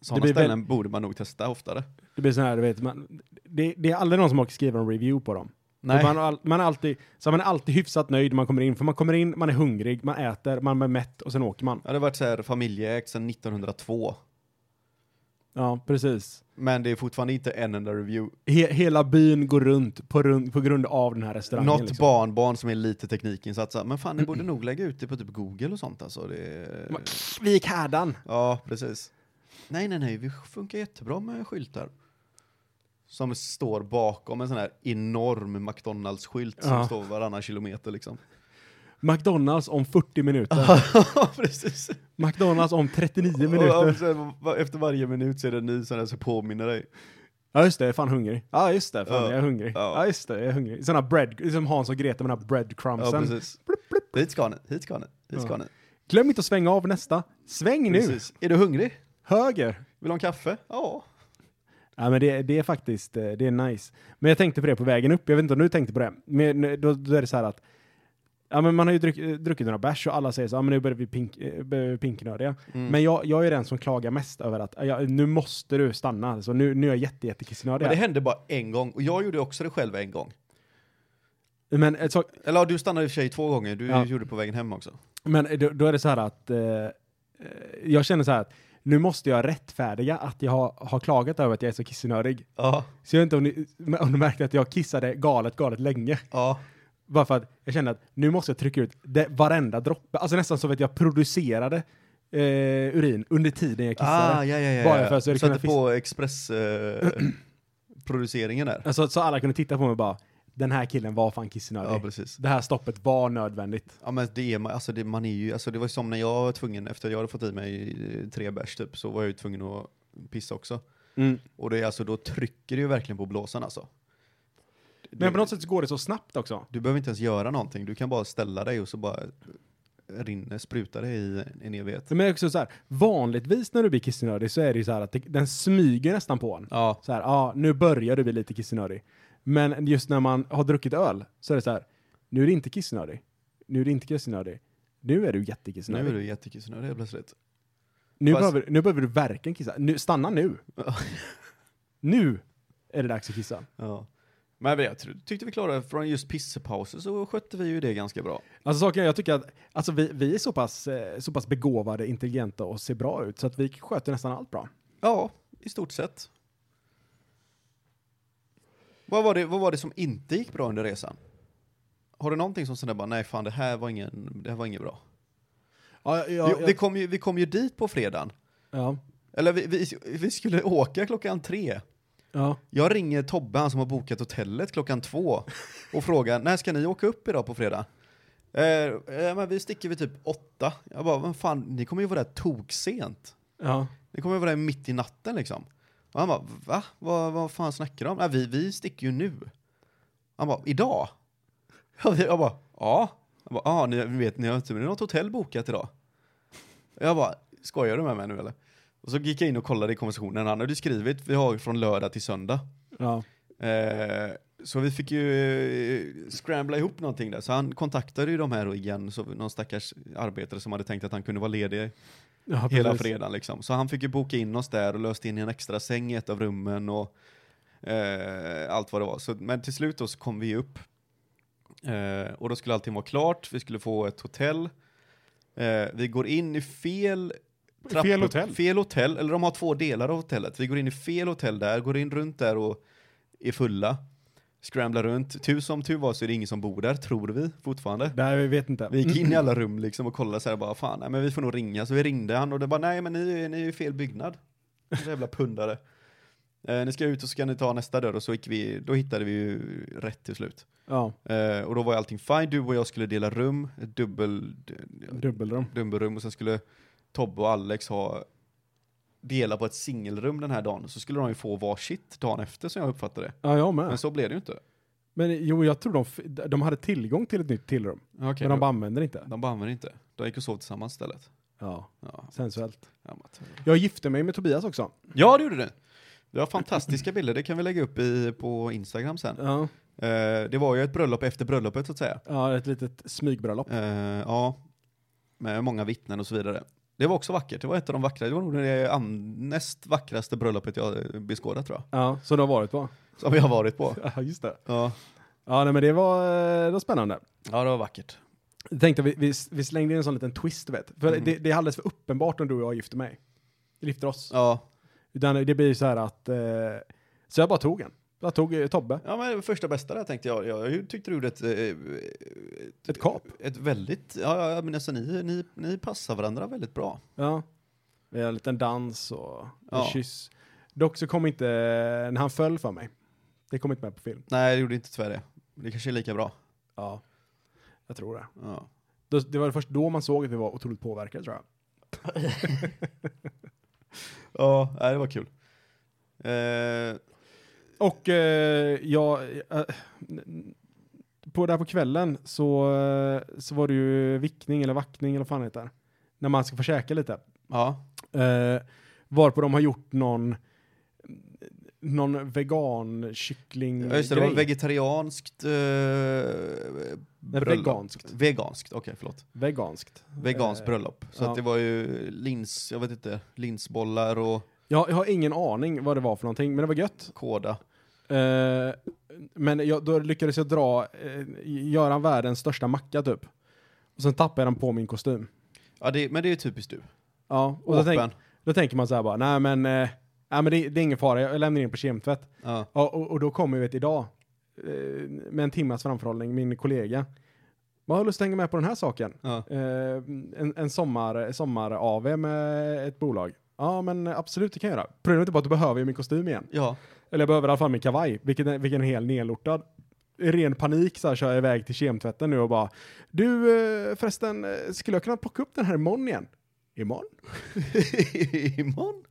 [SPEAKER 2] Sådana
[SPEAKER 3] blir väl-
[SPEAKER 2] ställen borde man nog testa oftare.
[SPEAKER 3] Det blir så här, du vet, man, det, det är aldrig någon som orkar skriva en review på dem.
[SPEAKER 2] Nej.
[SPEAKER 3] Man, har all, man, är alltid, så man är alltid hyfsat nöjd när man kommer in, för man kommer in, man är hungrig, man äter, man är mätt och sen åker man.
[SPEAKER 2] Ja, det har varit så här familjeägt sedan 1902.
[SPEAKER 3] Ja, precis.
[SPEAKER 2] Men det är fortfarande inte en enda review.
[SPEAKER 3] He hela byn går runt på, run på grund av den här restaurangen.
[SPEAKER 2] Något
[SPEAKER 3] liksom.
[SPEAKER 2] barnbarn som är lite teknikinsatta. Men fan, ni borde nog lägga ut det på typ Google och sånt alltså. Det...
[SPEAKER 3] Man- Vi gick härdan.
[SPEAKER 2] Ja, precis. Nej, nej, nej, vi funkar jättebra med skyltar. Som står bakom en sån här enorm McDonalds-skylt som
[SPEAKER 3] Ja.
[SPEAKER 2] står varannan kilometer liksom.
[SPEAKER 3] McDonalds om 40 minuter.
[SPEAKER 2] Ja, precis.
[SPEAKER 3] McDonalds om 39
[SPEAKER 2] Och, och
[SPEAKER 3] minuter.
[SPEAKER 2] sen, va- efter varje minut så är det en ny sån här som påminner dig.
[SPEAKER 3] Ja just det, jag är fan hungrig. Ja just det, fan
[SPEAKER 2] Ja.
[SPEAKER 3] jag är hungrig.
[SPEAKER 2] Ja.
[SPEAKER 3] Ja. just det, jag är hungrig. Såna bread, som Hans och Greta med den här
[SPEAKER 2] Ja,
[SPEAKER 3] breadcrumbsen.
[SPEAKER 2] precis. Hit ska ni, hit ska ni, hit ska
[SPEAKER 3] Ja.
[SPEAKER 2] ni.
[SPEAKER 3] Glöm inte att svänga av nästa. Sväng nu!
[SPEAKER 2] Precis. Är du hungrig?
[SPEAKER 3] Höger!
[SPEAKER 2] Vill du ha en kaffe? Ja.
[SPEAKER 3] Ja men det, det är faktiskt, eh, det är nice. Men jag tänkte på det på vägen upp, jag vet inte om du tänkte på det. Men eh, då, då är det så här att, ja men man har ju druck, eh, druckit några bärs och alla säger så, ja men nu börjar vi pink, eh, börjar vi pinknödiga.
[SPEAKER 2] Mm.
[SPEAKER 3] Men jag, jag är den som klagar mest över att ja, nu måste du stanna, alltså, nu, nu är jag jätte, jättekissnödig.
[SPEAKER 2] Men det
[SPEAKER 3] här.
[SPEAKER 2] hände bara en gång, och jag gjorde också det själv en gång.
[SPEAKER 3] Men, eh, så,
[SPEAKER 2] Eller ja, du stannade i och för sig två gånger, du
[SPEAKER 3] Ja.
[SPEAKER 2] gjorde det på vägen hem också.
[SPEAKER 3] men eh, då, då är det så här att eh, eh, jag känner så här att nu måste jag rättfärdiga att jag har, har klagat över att jag är så kissnödig.
[SPEAKER 2] Ja,
[SPEAKER 3] Så jag vet inte om ni, om ni märkte att jag kissade galet, galet länge.
[SPEAKER 2] ja.
[SPEAKER 3] Bara för att jag kände att nu måste jag trycka ut det, varenda droppe. Alltså nästan som att jag producerade eh, urin under tiden jag kissade.
[SPEAKER 2] Ah, ja, ja, ja.
[SPEAKER 3] Bara
[SPEAKER 2] ja.
[SPEAKER 3] för att så det
[SPEAKER 2] Satte
[SPEAKER 3] kunde
[SPEAKER 2] på Express-produceringen där.
[SPEAKER 3] Alltså, så alla kunde titta på mig och bara, den här killen var fan kissnödig.
[SPEAKER 2] Ja, precis.
[SPEAKER 3] det här stoppet var nödvändigt.
[SPEAKER 2] Ja, men det, är, man- alltså det, man är ju, alltså det var ju som när jag var tvungen, efter jag hade fått i mig eh, tre bärs typ, så var jag ju tvungen att pissa också. Och det är alltså, då trycker det ju verkligen på blåsan alltså. Du,
[SPEAKER 3] Men på något sätt så går det så snabbt också.
[SPEAKER 2] du behöver inte ens göra någonting, du kan bara ställa dig och så bara rinner, sprutar det i en evighet.
[SPEAKER 3] Men det är också så här, vanligtvis när du blir kissnödig så är det ju så här att det, den smyger nästan på en.
[SPEAKER 2] Ja.
[SPEAKER 3] Så här, ja, nu börjar du bli lite kissnödig. Men just när man har druckit öl så är det så här, nu är du inte kissnödig. Nu är du inte kissnödig. Nu är du
[SPEAKER 2] Nu är
[SPEAKER 3] jättekissnödig.
[SPEAKER 2] du jättekissnödig helt plötsligt.
[SPEAKER 3] Nu,
[SPEAKER 2] Fast-
[SPEAKER 3] behöver, nu behöver du verkligen kissa. Nu, stanna nu. nu är det dags att kissa.
[SPEAKER 2] Ja. Men jag tror- tyckte vi klarade från just pissepauser så skötte vi ju det ganska bra.
[SPEAKER 3] Alltså saken är, jag tycker att alltså, vi, vi är så pass, eh, så pass begåvade, intelligenta och ser bra ut så att vi sköter nästan allt bra.
[SPEAKER 2] Ja, i stort sett. Vad var, det, vad var det som inte gick bra under resan? Har du någonting som sådär bara, nej fan det här var, ingen, det här var inget bra?
[SPEAKER 3] Ja, ja,
[SPEAKER 2] vi, vi, kom ju, vi kom ju dit på fredagen.
[SPEAKER 3] ja,
[SPEAKER 2] Eller vi, vi, vi skulle åka klockan tre.
[SPEAKER 3] ja.
[SPEAKER 2] Jag ringer Tobbe, han som har bokat hotellet, klockan två och frågar när ska ni åka upp idag på fredag? Eh, eh, men vi sticker vid typ åtta. Jag bara, men fan, ni kommer ju vara där toksent.
[SPEAKER 3] ja.
[SPEAKER 2] Ni kommer ju vara där mitt i natten liksom. Och han bara, va? Vad, vad fan snackar du om? Nej, vi, vi sticker ju nu. Han bara, idag? Jag, jag bara, ja. Han bara, ja, ni vet, ni har inte något hotell bokat idag. Jag bara, skojar du med mig nu eller? Och så gick jag in och kollade i konversationen, han hade ju skrivit, vi har från lördag till söndag.
[SPEAKER 3] ja.
[SPEAKER 2] Eh, så vi fick ju eh, scrambla ihop någonting där, så han kontaktade ju de här igen, så någon stackars arbetare som hade tänkt att han kunde vara ledig
[SPEAKER 1] Ja,
[SPEAKER 2] hela
[SPEAKER 1] precis.
[SPEAKER 2] fredagen liksom. Så han fick ju boka in oss där och löste in i en extra säng i ett av rummen och eh, allt vad det var. Så, men till slut då så kom vi upp eh, och då skulle allting vara klart, vi skulle få ett hotell. Eh, vi går in i fel trapp-
[SPEAKER 1] Fel hotell.
[SPEAKER 2] fel hotell, eller de har två delar av hotellet. Vi går in i fel hotell där, går in runt där och är fulla. Scramblar runt. Tur som tur var så är det ingen som bor där, tror vi fortfarande.
[SPEAKER 3] Nej, vi vet inte.
[SPEAKER 2] Vi gick in i alla rum liksom och kollade så här bara, fan, nej, men vi får nog ringa. Så vi ringde han och det bara, nej men ni, är- ni är i fel byggnad. Så jävla pundare. Eh, ni ska ut och så ska ni ta nästa dörr och så gick vi, då hittade vi ju rätt till slut.
[SPEAKER 3] Ja,
[SPEAKER 2] Eh, och då var ju allting fine, du och jag skulle dela rum, ett dubbel,
[SPEAKER 3] dubbelrum.
[SPEAKER 2] dubbelrum och sen skulle Tobbe och Alex ha dela på ett singelrum den här dagen. Så skulle de ju få varsitt dagen efter som jag uppfattade det.
[SPEAKER 3] Ja, jag
[SPEAKER 1] Ah.
[SPEAKER 3] med.
[SPEAKER 2] Men så blev det ju inte.
[SPEAKER 1] Men jo, jag tror de, f- de hade tillgång till ett nytt tillrum.
[SPEAKER 2] Okay,
[SPEAKER 1] men de bara använder det inte.
[SPEAKER 2] de bara använde inte. De gick och sov tillsammans istället.
[SPEAKER 1] Ja,
[SPEAKER 2] Ja,
[SPEAKER 1] sensuellt.
[SPEAKER 2] amatörer.
[SPEAKER 3] Jag gifte mig med Tobias också.
[SPEAKER 2] Ja, det gjorde det. Vi har fantastiska bilder, det kan vi lägga upp i, på Instagram sen.
[SPEAKER 3] Ja,
[SPEAKER 2] Eh, det var ju ett bröllop efter bröllopet så att säga.
[SPEAKER 3] ja ett litet smygbröllop.
[SPEAKER 2] Eh, ja, med många vittnen och så vidare. Det var också vackert, det var ett av de vackra, det var nog det an- näst vackraste bröllopet jag eh, beskådat tror jag.
[SPEAKER 3] Ja, så det har varit va?
[SPEAKER 2] Som jag har varit på.
[SPEAKER 3] Ja, just det.
[SPEAKER 2] Ja,
[SPEAKER 3] Ja, nej, men det var, eh, det var spännande.
[SPEAKER 2] ja det var vackert.
[SPEAKER 3] Jag tänkte vi, vi, vi slängde in en sån liten twist, du vet. För
[SPEAKER 2] Mm.
[SPEAKER 3] det, det är alldeles för uppenbart om du och jag gifter mig. Gifter oss.
[SPEAKER 2] Ja.
[SPEAKER 3] Utan det blir ju så här att, eh, så jag bara tog en. Jag tog eh, Tobbe.
[SPEAKER 2] ja, men första bästa där tänkte jag, jag, jag tyckte du gjorde ett... eh, ett,
[SPEAKER 3] Ett kap.
[SPEAKER 2] ett väldigt, ja, ja men alltså ni, ni, ni passar varandra väldigt bra.
[SPEAKER 3] Ja. Vi har en liten dans och en
[SPEAKER 2] Ja.
[SPEAKER 3] kyss. Dock så kom inte, när han föll för mig. Det kom inte med på film.
[SPEAKER 2] Nej, det gjorde inte tyvärr det. Det kanske är lika bra.
[SPEAKER 3] Ja. Jag tror det.
[SPEAKER 2] Ja.
[SPEAKER 3] Då- Det var först då man såg att vi var otroligt påverkade tror jag.
[SPEAKER 2] Ja, nej, det var kul. Eh,
[SPEAKER 3] Och eh, jag, eh, n- på där på kvällen så, eh, så var det ju vickning eller vackning eller vad fan det heter. När man ska få käka lite.
[SPEAKER 2] ja,
[SPEAKER 3] Eh, varpå de har gjort någon, någon vegan kyckling
[SPEAKER 2] just det, det var vegetarianskt eh, bröllop.
[SPEAKER 3] Veganskt.
[SPEAKER 2] Veganskt, okej förlåt.
[SPEAKER 3] Veganskt.
[SPEAKER 2] Veganskt
[SPEAKER 3] Eh,
[SPEAKER 2] bröllop. Så
[SPEAKER 3] ja.
[SPEAKER 2] att det var ju lins, jag vet inte, linsbollar och
[SPEAKER 3] Jag, jag har ingen aning vad det var för någonting, men det var gött.
[SPEAKER 2] kåda.
[SPEAKER 3] Eh, men jag, då lyckades jag dra, eh, göra världens största macka typ. Och sen tappade jag den på min kostym.
[SPEAKER 2] Ja, det, men det är ju typiskt du.
[SPEAKER 3] Ja, och då,
[SPEAKER 2] Åpen.
[SPEAKER 3] tänk, då tänker man så här bara, nej men, eh, nej, men det, det är ingen fara, jag lämnar in på kemtvätt.
[SPEAKER 2] Ja.
[SPEAKER 3] Ja, och, och då kommer ju ett idag, eh, med en timmas framförhållning, min kollega. Vad har du lust att hänga med på den här saken?
[SPEAKER 2] Ja.
[SPEAKER 3] Eh, en, en sommar, sommar AV med ett bolag. Ja, men absolut, det kan jag göra. Problemet är bara att du behöver ju min kostym igen.
[SPEAKER 2] ja,
[SPEAKER 3] Eller jag behöver i alla fall min kavaj, vilken är, vilken är helt nedlortad. I ren panik så här kör jag iväg till kemtvätten nu och bara Du eh, förresten, eh, skulle jag kunna plocka upp den här imorgon igen? Imorgon?
[SPEAKER 2] imorgon?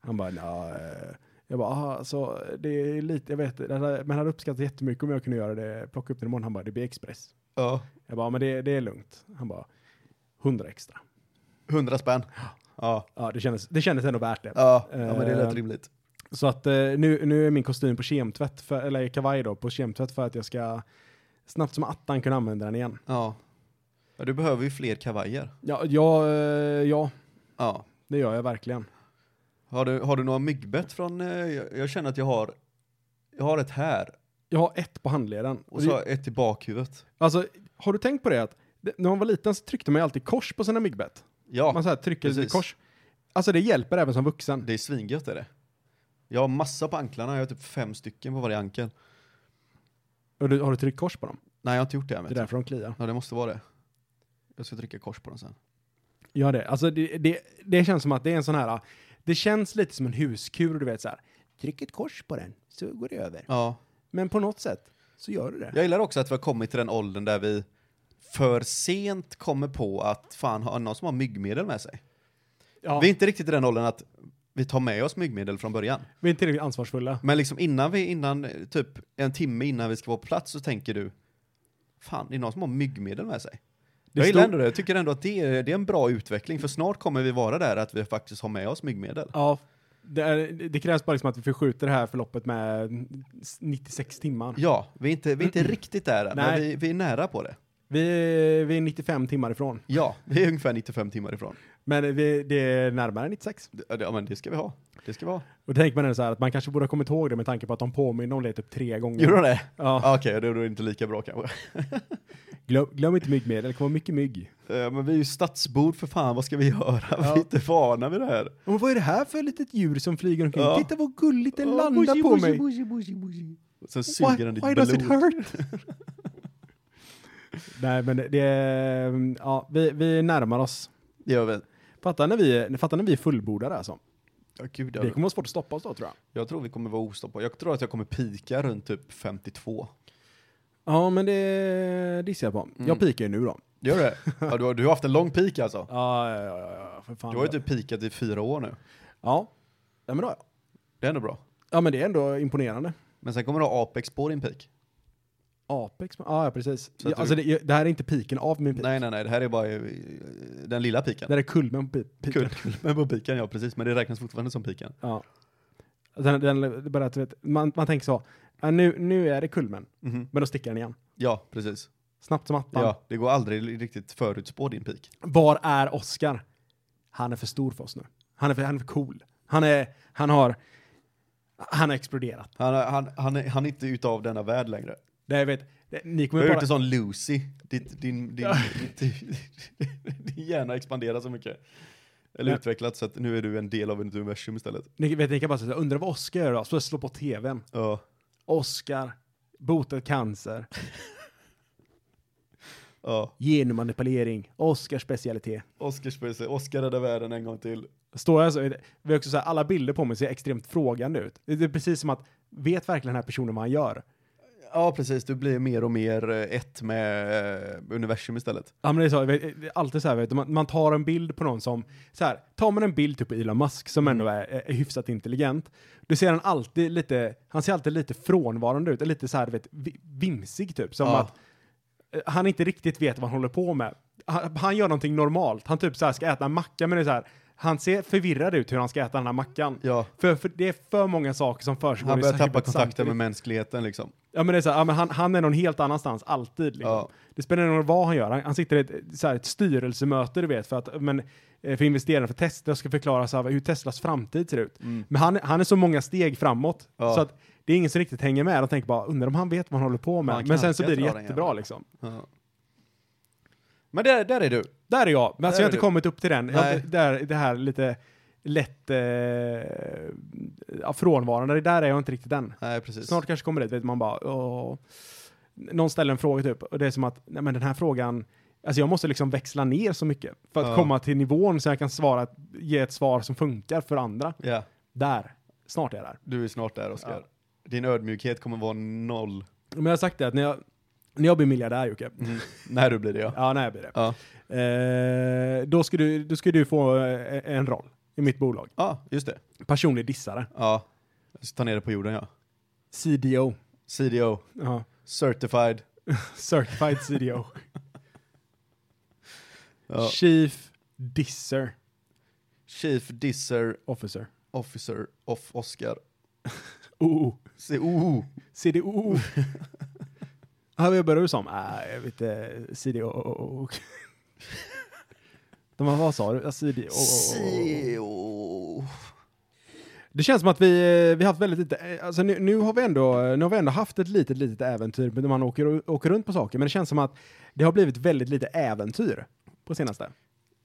[SPEAKER 3] Han bara "Nja, eh." Jag bara, aha, alltså det är lite, jag vet, det hade, men jag hade uppskattat jättemycket om jag kunde göra det, plocka upp den imorgon. Han bara, det blir express.
[SPEAKER 2] Ja,
[SPEAKER 3] Jag bara, men det, det är lugnt. Han bara, hundra extra.
[SPEAKER 2] hundra spänn. Ja,
[SPEAKER 3] Ja, det kändes, det kändes ändå värt det.
[SPEAKER 2] ja, ja men det lät
[SPEAKER 3] Eh,
[SPEAKER 2] rimligt.
[SPEAKER 3] Så att eh, nu, nu är min kostym på kemtvätt, för, eller kavaj då, på kemtvätt för att jag ska snabbt som attan kunna använda den igen.
[SPEAKER 2] Ja. ja, du behöver ju fler kavajer.
[SPEAKER 3] Ja, ja, eh, ja
[SPEAKER 2] Ja.
[SPEAKER 3] det gör jag verkligen.
[SPEAKER 2] Har du, har du några myggbett från, eh, jag, jag känner att jag har, jag har ett här
[SPEAKER 3] Jag har ett på handleden.
[SPEAKER 2] och så har jag ett i bakhuvudet.
[SPEAKER 3] Alltså, har du tänkt på det att det- när man var liten så tryckte man ju alltid kors på sina myggbett. Man
[SPEAKER 2] Ja,
[SPEAKER 3] så här trycker lite
[SPEAKER 2] precis.
[SPEAKER 3] kors. Alltså det hjälper även som vuxen.
[SPEAKER 2] det är svingött är det. Jag har massa på anklarna, jag har typ fem stycken på varje ankel.
[SPEAKER 3] Och du, har du tryckt kors på dem?
[SPEAKER 2] Nej, jag har inte gjort det än.
[SPEAKER 3] Det
[SPEAKER 2] Vet
[SPEAKER 3] är
[SPEAKER 2] du.
[SPEAKER 3] därför de kliar.
[SPEAKER 2] Ja, det måste vara det. Jag ska trycka kors på den sen.
[SPEAKER 3] Gör det. Alltså det, det, det känns som att det är en sån här, det känns lite som en huskur, du vet så här. Tryck ett kors på den, så går det över.
[SPEAKER 2] Ja.
[SPEAKER 3] Men på något sätt så gör du det.
[SPEAKER 2] Jag gillar också att vi har kommit till den åldern där vi för sent kommer på att fan, har någon som har myggmedel med sig?
[SPEAKER 3] Ja,
[SPEAKER 2] Vi är
[SPEAKER 3] vi,
[SPEAKER 2] inte riktigt i den åldern att vi tar med oss myggmedel från början.
[SPEAKER 3] är inte riktigt ansvarsfulla.
[SPEAKER 2] Men liksom innan vi, innan, eh, typ en timme innan vi ska vara på plats så tänker du, fan, det är någon som har myggmedel med sig.
[SPEAKER 3] Det
[SPEAKER 2] jag gillar
[SPEAKER 3] stod-
[SPEAKER 2] ändå det, jag tycker ändå att det är, det är en bra utveckling, för snart kommer vi vara där att vi faktiskt har med oss myggmedel.
[SPEAKER 3] Ja, det, är, det krävs bara liksom att vi förskjuter det här förloppet med 96 timmar.
[SPEAKER 2] Ja, vi är inte, vi är inte riktigt där än, men
[SPEAKER 3] Mm. Nej.
[SPEAKER 2] vi, vi är nära på det.
[SPEAKER 3] Vi, vi är 95 timmar ifrån,
[SPEAKER 2] Ja, vi är ungefär 95 timmar ifrån.
[SPEAKER 3] men vi, det är närmare 96.
[SPEAKER 2] Det- Ja, men det ska vi ha. Det ska vi ha.
[SPEAKER 3] Och tänker man ändå så här att man kanske borde ha kommit ihåg det med tanke på att de påminner om det typ tre gånger.
[SPEAKER 2] Gjorde de det?
[SPEAKER 3] Ja.
[SPEAKER 2] Ah, Okej, då är det inte lika bra kanske.
[SPEAKER 3] Glöm, glöm inte myggmedel, det kommer mycket mygg.
[SPEAKER 2] Eh, Men vi är ju stadsbor för fan, vad ska vi göra? Vi
[SPEAKER 3] Ja.
[SPEAKER 2] är inte vana vid det här.
[SPEAKER 3] Och vad är det här för litet djur som flyger omkring?
[SPEAKER 2] Ja.
[SPEAKER 3] Titta vad gulligt den
[SPEAKER 2] Ah,
[SPEAKER 3] landar
[SPEAKER 2] bushi,
[SPEAKER 3] på
[SPEAKER 2] bushi,
[SPEAKER 3] mig.
[SPEAKER 2] bushi, bushi, bushi. Sen suger den ditt
[SPEAKER 3] why does it
[SPEAKER 2] blod.
[SPEAKER 3] hurt? Nej men det, är- ja, vi, vi närmar oss.
[SPEAKER 2] Det gör vi.
[SPEAKER 3] Fatta när vi, fatta när vi är fullbordade alltså.
[SPEAKER 2] Ja, gud,
[SPEAKER 3] Det
[SPEAKER 2] jag,
[SPEAKER 3] kommer vara svårt att stoppa oss då tror jag.
[SPEAKER 2] jag tror vi kommer vara ostoppbara. Jag tror att jag kommer pika runt typ 52.
[SPEAKER 3] Ja men det dissar jag på. Jag pikar ju nu då.
[SPEAKER 2] Gör det? Ja, du, har, du har haft en lång peak alltså.
[SPEAKER 3] Ja, ja, ja, ja, för fan.
[SPEAKER 2] Du har ju typ pikat i fyra år nu.
[SPEAKER 3] Ja. Ja men, då,
[SPEAKER 2] Det är ändå bra.
[SPEAKER 3] ja men det är ändå imponerande.
[SPEAKER 2] Men sen kommer du ha Apex på din peak.
[SPEAKER 3] Apex, ja ja, precis.
[SPEAKER 2] Så att
[SPEAKER 3] Ja,
[SPEAKER 2] du-
[SPEAKER 3] alltså det, det här är inte piken av min pik.
[SPEAKER 2] Nej, nej, nej, det här är bara eh, den lilla
[SPEAKER 3] Det
[SPEAKER 2] piken.
[SPEAKER 3] här är kulmen på pi- piken.
[SPEAKER 2] Kul. Men på piken, ja precis. Men det räknas fortfarande som piken.
[SPEAKER 3] Ja. Den, den, det är bara att, du vet, man, man tänker så, ja, nu, nu är det kulmen,
[SPEAKER 2] Mhm.
[SPEAKER 3] men då sticker den igen.
[SPEAKER 2] Ja, precis.
[SPEAKER 3] Snabbt som attan.
[SPEAKER 2] Ja, det går aldrig riktigt förutspå din peak.
[SPEAKER 3] Var är Oscar? Han är för stor för oss nu. Han är för, han är för cool. Han, är, han har han har exploderat.
[SPEAKER 2] Han, han, han, är, han är inte utav denna värld längre.
[SPEAKER 3] Det jag vet, det, ni
[SPEAKER 2] Du
[SPEAKER 3] kommer
[SPEAKER 2] har
[SPEAKER 3] bara...
[SPEAKER 2] gjort en sån Lucy. Ditt, din, din, din, din hjärna expanderar så mycket. Eller
[SPEAKER 3] Ja.
[SPEAKER 2] utvecklats så att nu är du en del av ett universum istället.
[SPEAKER 3] Ni, vet, ni kan bara säga, undrar vad Oscar gör då? Så jag slår på tvn.
[SPEAKER 2] Ja.
[SPEAKER 3] Oscar, botat cancer,
[SPEAKER 2] ja.
[SPEAKER 3] genmanipulering, Oscars specialitet.
[SPEAKER 2] Oscarsspecial. Oscar räddar världen en gång till.
[SPEAKER 3] Står jag så, är det- vi har också så här, alla bilder på mig ser extremt frågande ut. Det är precis som att, vet verkligen den här personen vad han gör?
[SPEAKER 2] Ja, precis. Du blir mer och mer eh, ett med eh, universum istället.
[SPEAKER 3] Ja, men det är så, vet, det är alltid så här, vet, du, man, man tar en bild på någon som, så här, tar man en bild typ på Elon Musk som
[SPEAKER 2] Mm.
[SPEAKER 3] ändå är, är hyfsat intelligent, då ser han alltid lite, han ser alltid lite frånvarande ut, eller lite så här, du vet, vi- vimsig typ, som
[SPEAKER 2] Ja.
[SPEAKER 3] att eh, han inte riktigt vet vad han håller på med. Han, han gör någonting normalt, han typ så här ska äta en macka, men det är så här, han ser förvirrad ut hur han ska äta den här mackan.
[SPEAKER 2] Ja.
[SPEAKER 3] För, för det är för många saker som försiggår
[SPEAKER 2] Han
[SPEAKER 3] i
[SPEAKER 2] börjar
[SPEAKER 3] huvudet
[SPEAKER 2] tappa kontakten
[SPEAKER 3] samtidigt.
[SPEAKER 2] med mänskligheten liksom.
[SPEAKER 3] Ja men det är så här, ja, men han, han är någon helt annanstans alltid. Liksom.
[SPEAKER 2] Ja.
[SPEAKER 3] Det spelar ingen roll vad han gör. Han, han sitter i ett, så här, ett styrelsemöte du vet för, att, men, eh, för investerarna för Tesla ska förklara så här, hur Teslas framtid ser ut.
[SPEAKER 2] Mm.
[SPEAKER 3] Men han, han är så många steg framåt
[SPEAKER 2] Ja.
[SPEAKER 3] så att det är ingen som riktigt hänger med. De tänker bara undrar om han vet vad han håller på med.
[SPEAKER 2] Han
[SPEAKER 3] Men sen så
[SPEAKER 2] knarkar
[SPEAKER 3] blir det
[SPEAKER 2] drar den
[SPEAKER 3] jättebra
[SPEAKER 2] jäveln.
[SPEAKER 3] liksom.
[SPEAKER 2] Ja. Men där, där är du.
[SPEAKER 3] Där är jag. Men alltså,
[SPEAKER 2] Där
[SPEAKER 3] jag har
[SPEAKER 2] är
[SPEAKER 3] inte
[SPEAKER 2] du.
[SPEAKER 3] kommit upp till den. Jag,
[SPEAKER 2] Nej.
[SPEAKER 3] har- där, det här lite lätt eh, ja, frånvarande. Det där är jag inte riktigt än.
[SPEAKER 2] Nej, precis.
[SPEAKER 3] Snart kanske kommer det, vet man bara, åh. Någon ställer en fråga typ, och det är som att, nej men den här frågan, alltså jag måste liksom växla ner så mycket för att
[SPEAKER 2] Ja.
[SPEAKER 3] komma till nivån så jag kan svara, ge ett svar som funkar för andra.
[SPEAKER 2] Ja.
[SPEAKER 3] Där, snart är jag där.
[SPEAKER 2] Du är snart där, Oskar. Din ödmjukhet kommer vara noll.
[SPEAKER 3] Men jag har sagt det att när jag, när jag blir miljardär Jocke,
[SPEAKER 2] När du blir det, ja.
[SPEAKER 3] ja när jag blir det,
[SPEAKER 2] Mm. Ja,
[SPEAKER 3] eh, då, ska du, då ska du få eh, en roll i mitt bolag.
[SPEAKER 2] ja just det.
[SPEAKER 3] Personlig dissare,
[SPEAKER 2] Ja. Jag ska ta ner det på jorden, ja.
[SPEAKER 3] CDO.
[SPEAKER 2] CDO,
[SPEAKER 3] Ja.
[SPEAKER 2] Certified.
[SPEAKER 3] Certified CDO.
[SPEAKER 2] Ja.
[SPEAKER 3] Chief Disser
[SPEAKER 2] Chief Disser
[SPEAKER 3] Officer.
[SPEAKER 2] Officer of Oscar.
[SPEAKER 3] OO.
[SPEAKER 2] CO.
[SPEAKER 3] CDO. Här jag började du som? Nej, jag vet inte. CDO. De bara, vad sa du? Ja, CDO.
[SPEAKER 2] Oh, CO.
[SPEAKER 3] Det känns som att vi, eh, vi har haft väldigt lite, eh, alltså nu, nu, har vi ändå, nu har vi ändå haft ett litet, litet äventyr när man åker, åker runt på saker, men det känns som att det har blivit väldigt lite äventyr på senaste.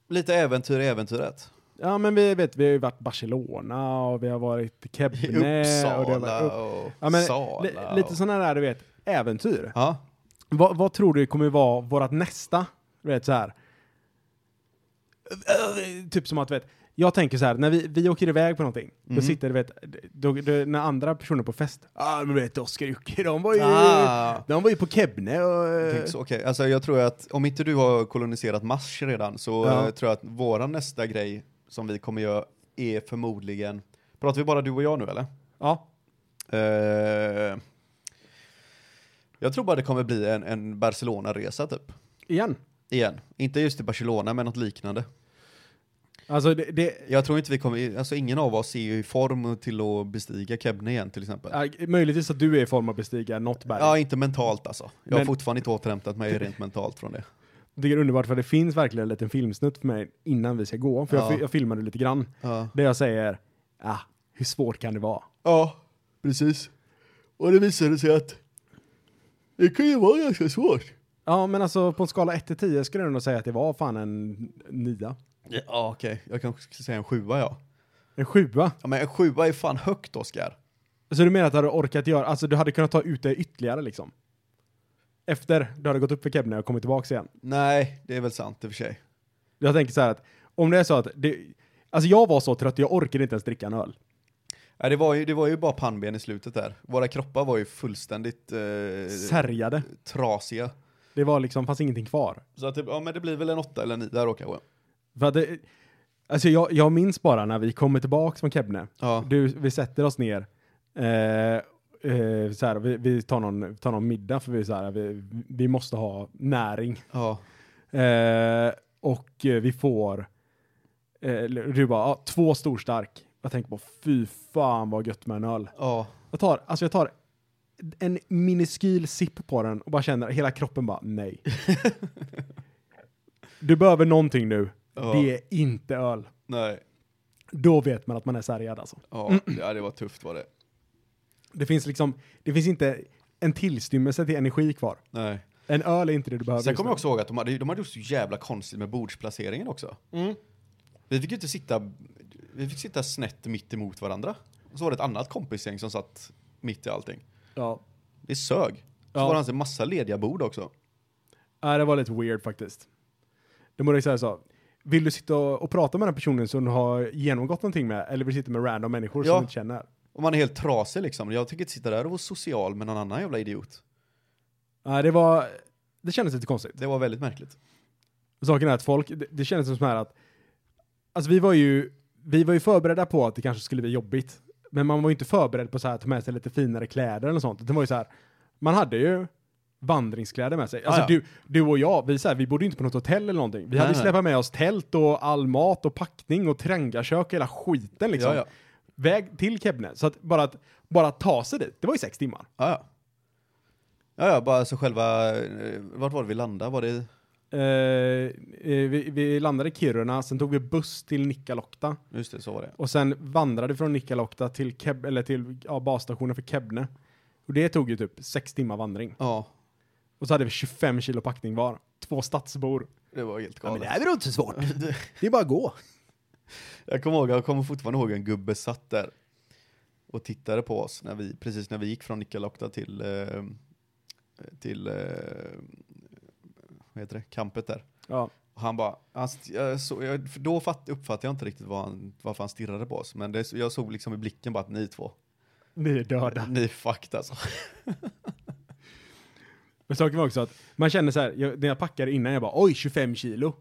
[SPEAKER 2] Lite äventyr i äventyret.
[SPEAKER 3] Ja, men vi vet, vi har ju varit Barcelona och vi har varit
[SPEAKER 2] I
[SPEAKER 3] Kebne. och det har varit
[SPEAKER 2] Uppsala
[SPEAKER 3] upp-
[SPEAKER 2] och
[SPEAKER 3] Ja, men,
[SPEAKER 2] Sala.
[SPEAKER 3] li, lite sådana där, du vet, äventyr.
[SPEAKER 2] Ja.
[SPEAKER 3] Vad, vad tror du kommer vara vårt nästa? Du vet så här. Eh, Typ som att, vet, jag tänker så här, när vi, vi åker iväg på någonting,
[SPEAKER 2] Mm.
[SPEAKER 3] då sitter det, vet, då, då, när andra personer på fest, ah men vet Oskar och Jocke, de var ju,
[SPEAKER 2] Ah.
[SPEAKER 3] de var ju på Kebne och...
[SPEAKER 2] Jag tänker så, Okej, alltså jag tror att om inte du har koloniserat Mars redan så
[SPEAKER 3] Ja.
[SPEAKER 2] eh, tror jag att våran nästa grej som vi kommer göra är förmodligen, pratar vi bara du och jag nu eller?
[SPEAKER 3] Ja,
[SPEAKER 2] Eh, jag tror bara det kommer bli en, en Barcelona-resa typ,
[SPEAKER 3] igen.
[SPEAKER 2] igen. Inte just till Barcelona men något liknande.
[SPEAKER 3] Alltså det, det
[SPEAKER 2] Jag tror inte vi kommer, alltså ingen av oss är ju i form till att bestiga Kebne igen till exempel.
[SPEAKER 3] är möjligtvis att du är i form av bestiga något berg.
[SPEAKER 2] Ja, inte mentalt alltså. Jag har
[SPEAKER 3] Men-
[SPEAKER 2] fortfarande inte återhämtat mig rent mentalt från det.
[SPEAKER 3] Det är underbart för det finns verkligen en liten filmsnutt för mig innan vi ska gå, för jag,
[SPEAKER 2] Ja.
[SPEAKER 3] fi- jag filmade lite grann,
[SPEAKER 2] Ja,
[SPEAKER 3] där jag säger, ah, hur svårt kan det vara?
[SPEAKER 2] precis. Och det visade sig att det kan ju vara ganska svårt.
[SPEAKER 3] Ja, men alltså på en skala 1 till 10 skulle jag nog säga att det var fan en nia.
[SPEAKER 2] Ja, okej. Jag kanske ska säga en sjua, ja.
[SPEAKER 3] En sjua.
[SPEAKER 2] ja. Men en sjua är fan högt, Oskar.
[SPEAKER 3] Så du menar att du hade orkat göra, alltså du hade kunnat ta ut det ytterligare liksom? Efter du hade gått upp för Kebne och kommit tillbaks igen.
[SPEAKER 2] Nej, det är väl sant i och för sig.
[SPEAKER 3] Jag tänker så här att, om det är så att, det, alltså jag var så trött, jag orkade inte ens dricka en öl.
[SPEAKER 2] Ja, det, var ju, det var ju bara pannben i slutet där. Våra kroppar var ju fullständigt eh,
[SPEAKER 3] Särjade.
[SPEAKER 2] trasiga.
[SPEAKER 3] Det var liksom, fanns ingenting kvar.
[SPEAKER 2] Så att det, ja, men det blir väl en åtta eller en nio där då kanske.
[SPEAKER 3] För att det, alltså jag, jag minns bara när vi kommer tillbaks från Kebne,
[SPEAKER 2] Ja.
[SPEAKER 3] du, vi sätter oss ner, eh, eh, så här, vi, vi tar, någon, tar någon middag för vi, är så här, vi, vi måste ha näring.
[SPEAKER 2] Ja.
[SPEAKER 3] Eh, och eh, vi får, eh, du bara, ja, två storstark. Jag tänker på, fy fan vad gött med en öl.
[SPEAKER 2] Ja.
[SPEAKER 3] Jag tar, alltså jag tar en miniskyl sipp på den och bara känner hela kroppen bara, nej. du behöver någonting nu.
[SPEAKER 2] Ja.
[SPEAKER 3] Det är inte öl.
[SPEAKER 2] Nej.
[SPEAKER 3] Då vet man att man är sargad alltså.
[SPEAKER 2] Ja, ja, det var tufft var det.
[SPEAKER 3] Det finns liksom, det finns inte en tillstymmelse till energi kvar.
[SPEAKER 2] Nej.
[SPEAKER 3] En öl är inte det du behöver.
[SPEAKER 2] Sen
[SPEAKER 3] just
[SPEAKER 2] kommer
[SPEAKER 3] nu.
[SPEAKER 2] jag också ihåg att de hade, de hade gjort så jävla konstigt med bordsplaceringen också.
[SPEAKER 3] Mm.
[SPEAKER 2] Vi fick ju inte sitta, vi fick sitta snett mitt emot varandra. Och så var det ett annat kompisgäng som satt mitt i allting.
[SPEAKER 3] Ja.
[SPEAKER 2] Det sög. Så
[SPEAKER 3] Ja.
[SPEAKER 2] var det alltså en massa lediga bord också.
[SPEAKER 3] Nej, Äh, det var lite weird faktiskt. Det borde jag säga så. Vill du sitta och, och prata med den personen som du har genomgått någonting med eller vill du sitta med random människor som
[SPEAKER 2] Ja.
[SPEAKER 3] du inte känner?
[SPEAKER 2] Och man är helt trasig liksom. Jag tänker inte sitta där och vara social med någon annan jävla idiot.
[SPEAKER 3] Nej, Äh, det var, det kändes lite konstigt.
[SPEAKER 2] Det var väldigt märkligt.
[SPEAKER 3] Saken är att folk, det, det kändes som så här att, alltså vi var ju, vi var ju förberedda på att det kanske skulle bli jobbigt. Men man var ju inte förberedd på så här att ta med sig lite finare kläder eller sånt. Det var ju så här, man hade ju vandringskläder med sig. Alltså
[SPEAKER 2] Ah, ja.
[SPEAKER 3] du, du och jag, vi, så här, vi bodde ju inte på något hotell eller någonting. Vi
[SPEAKER 2] Nej,
[SPEAKER 3] hade ju
[SPEAKER 2] nej.
[SPEAKER 3] släpat med oss tält och all mat och packning och trängakök och hela skiten liksom.
[SPEAKER 2] Ja, ja.
[SPEAKER 3] Väg till Kebne. Så att bara, att bara ta sig dit, det var ju sex timmar.
[SPEAKER 2] Ja, ja. Ja, ja, bara så själva, eh, vart var det vi landade? Var det,
[SPEAKER 3] Eh, eh, vi, vi landade i Kiruna, sen tog vi buss till Nikkaluokta.
[SPEAKER 2] just det, så var det.
[SPEAKER 3] Och sen vandrade vi från Nikkaluokta till, Keb- eller till ja, basstationen för Kebne. Och det tog ju typ sex timmar vandring.
[SPEAKER 2] Ja,
[SPEAKER 3] Och så hade vi 25 kilo packning var. Två stadsbor.
[SPEAKER 2] det var helt galet.
[SPEAKER 3] är väl inte svårt? det är bara att gå.
[SPEAKER 2] Jag kommer ihåg, jag kommer fortfarande ihåg en gubbe satt där och tittade på oss när vi, precis när vi gick från Nikkaluokta till, eh, till eh, vad heter det, campet där.
[SPEAKER 3] Ja.
[SPEAKER 2] Och han bara, han, st- jag så, jag, för då fatt, uppfattade jag inte riktigt vad han, varför han stirrade på oss, men det, jag såg liksom i blicken bara att ni två,
[SPEAKER 3] Ni är döda.
[SPEAKER 2] ni är fucked alltså.
[SPEAKER 3] Men saken var också att man känner så här, jag, när jag packade innan, jag bara oj 25 kilo.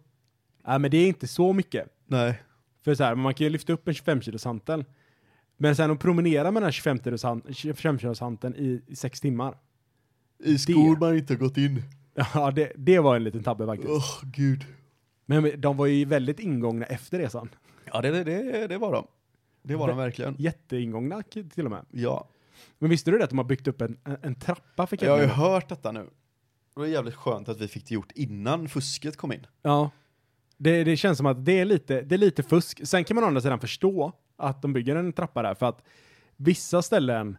[SPEAKER 3] Nej men det är inte så mycket.
[SPEAKER 2] Nej.
[SPEAKER 3] För så här, man kan ju lyfta upp en 25 kilos hantel. Men sen att promenera med den här 25 kilos han- 25 kilos hanteln i, i sex timmar.
[SPEAKER 2] I skor man inte har gått in.
[SPEAKER 3] Ja, det, det var en liten tabbe faktiskt.
[SPEAKER 2] Åh gud.
[SPEAKER 3] Men de var ju väldigt ingångna efter resan.
[SPEAKER 2] Ja det, det- det, det var de. Det var de verkligen.
[SPEAKER 3] Jätteingångna k- till och med.
[SPEAKER 2] Ja.
[SPEAKER 3] Men visste du det att de har byggt upp en, en, en trappa för
[SPEAKER 2] Jag har ju
[SPEAKER 3] Kebne?
[SPEAKER 2] hört detta nu. Det var jävligt skönt att vi fick det gjort innan fusket kom in.
[SPEAKER 3] Ja. Det, det känns som att det är, lite, det är lite fusk. Sen kan man å andra sidan förstå att de bygger en trappa där för att vissa ställen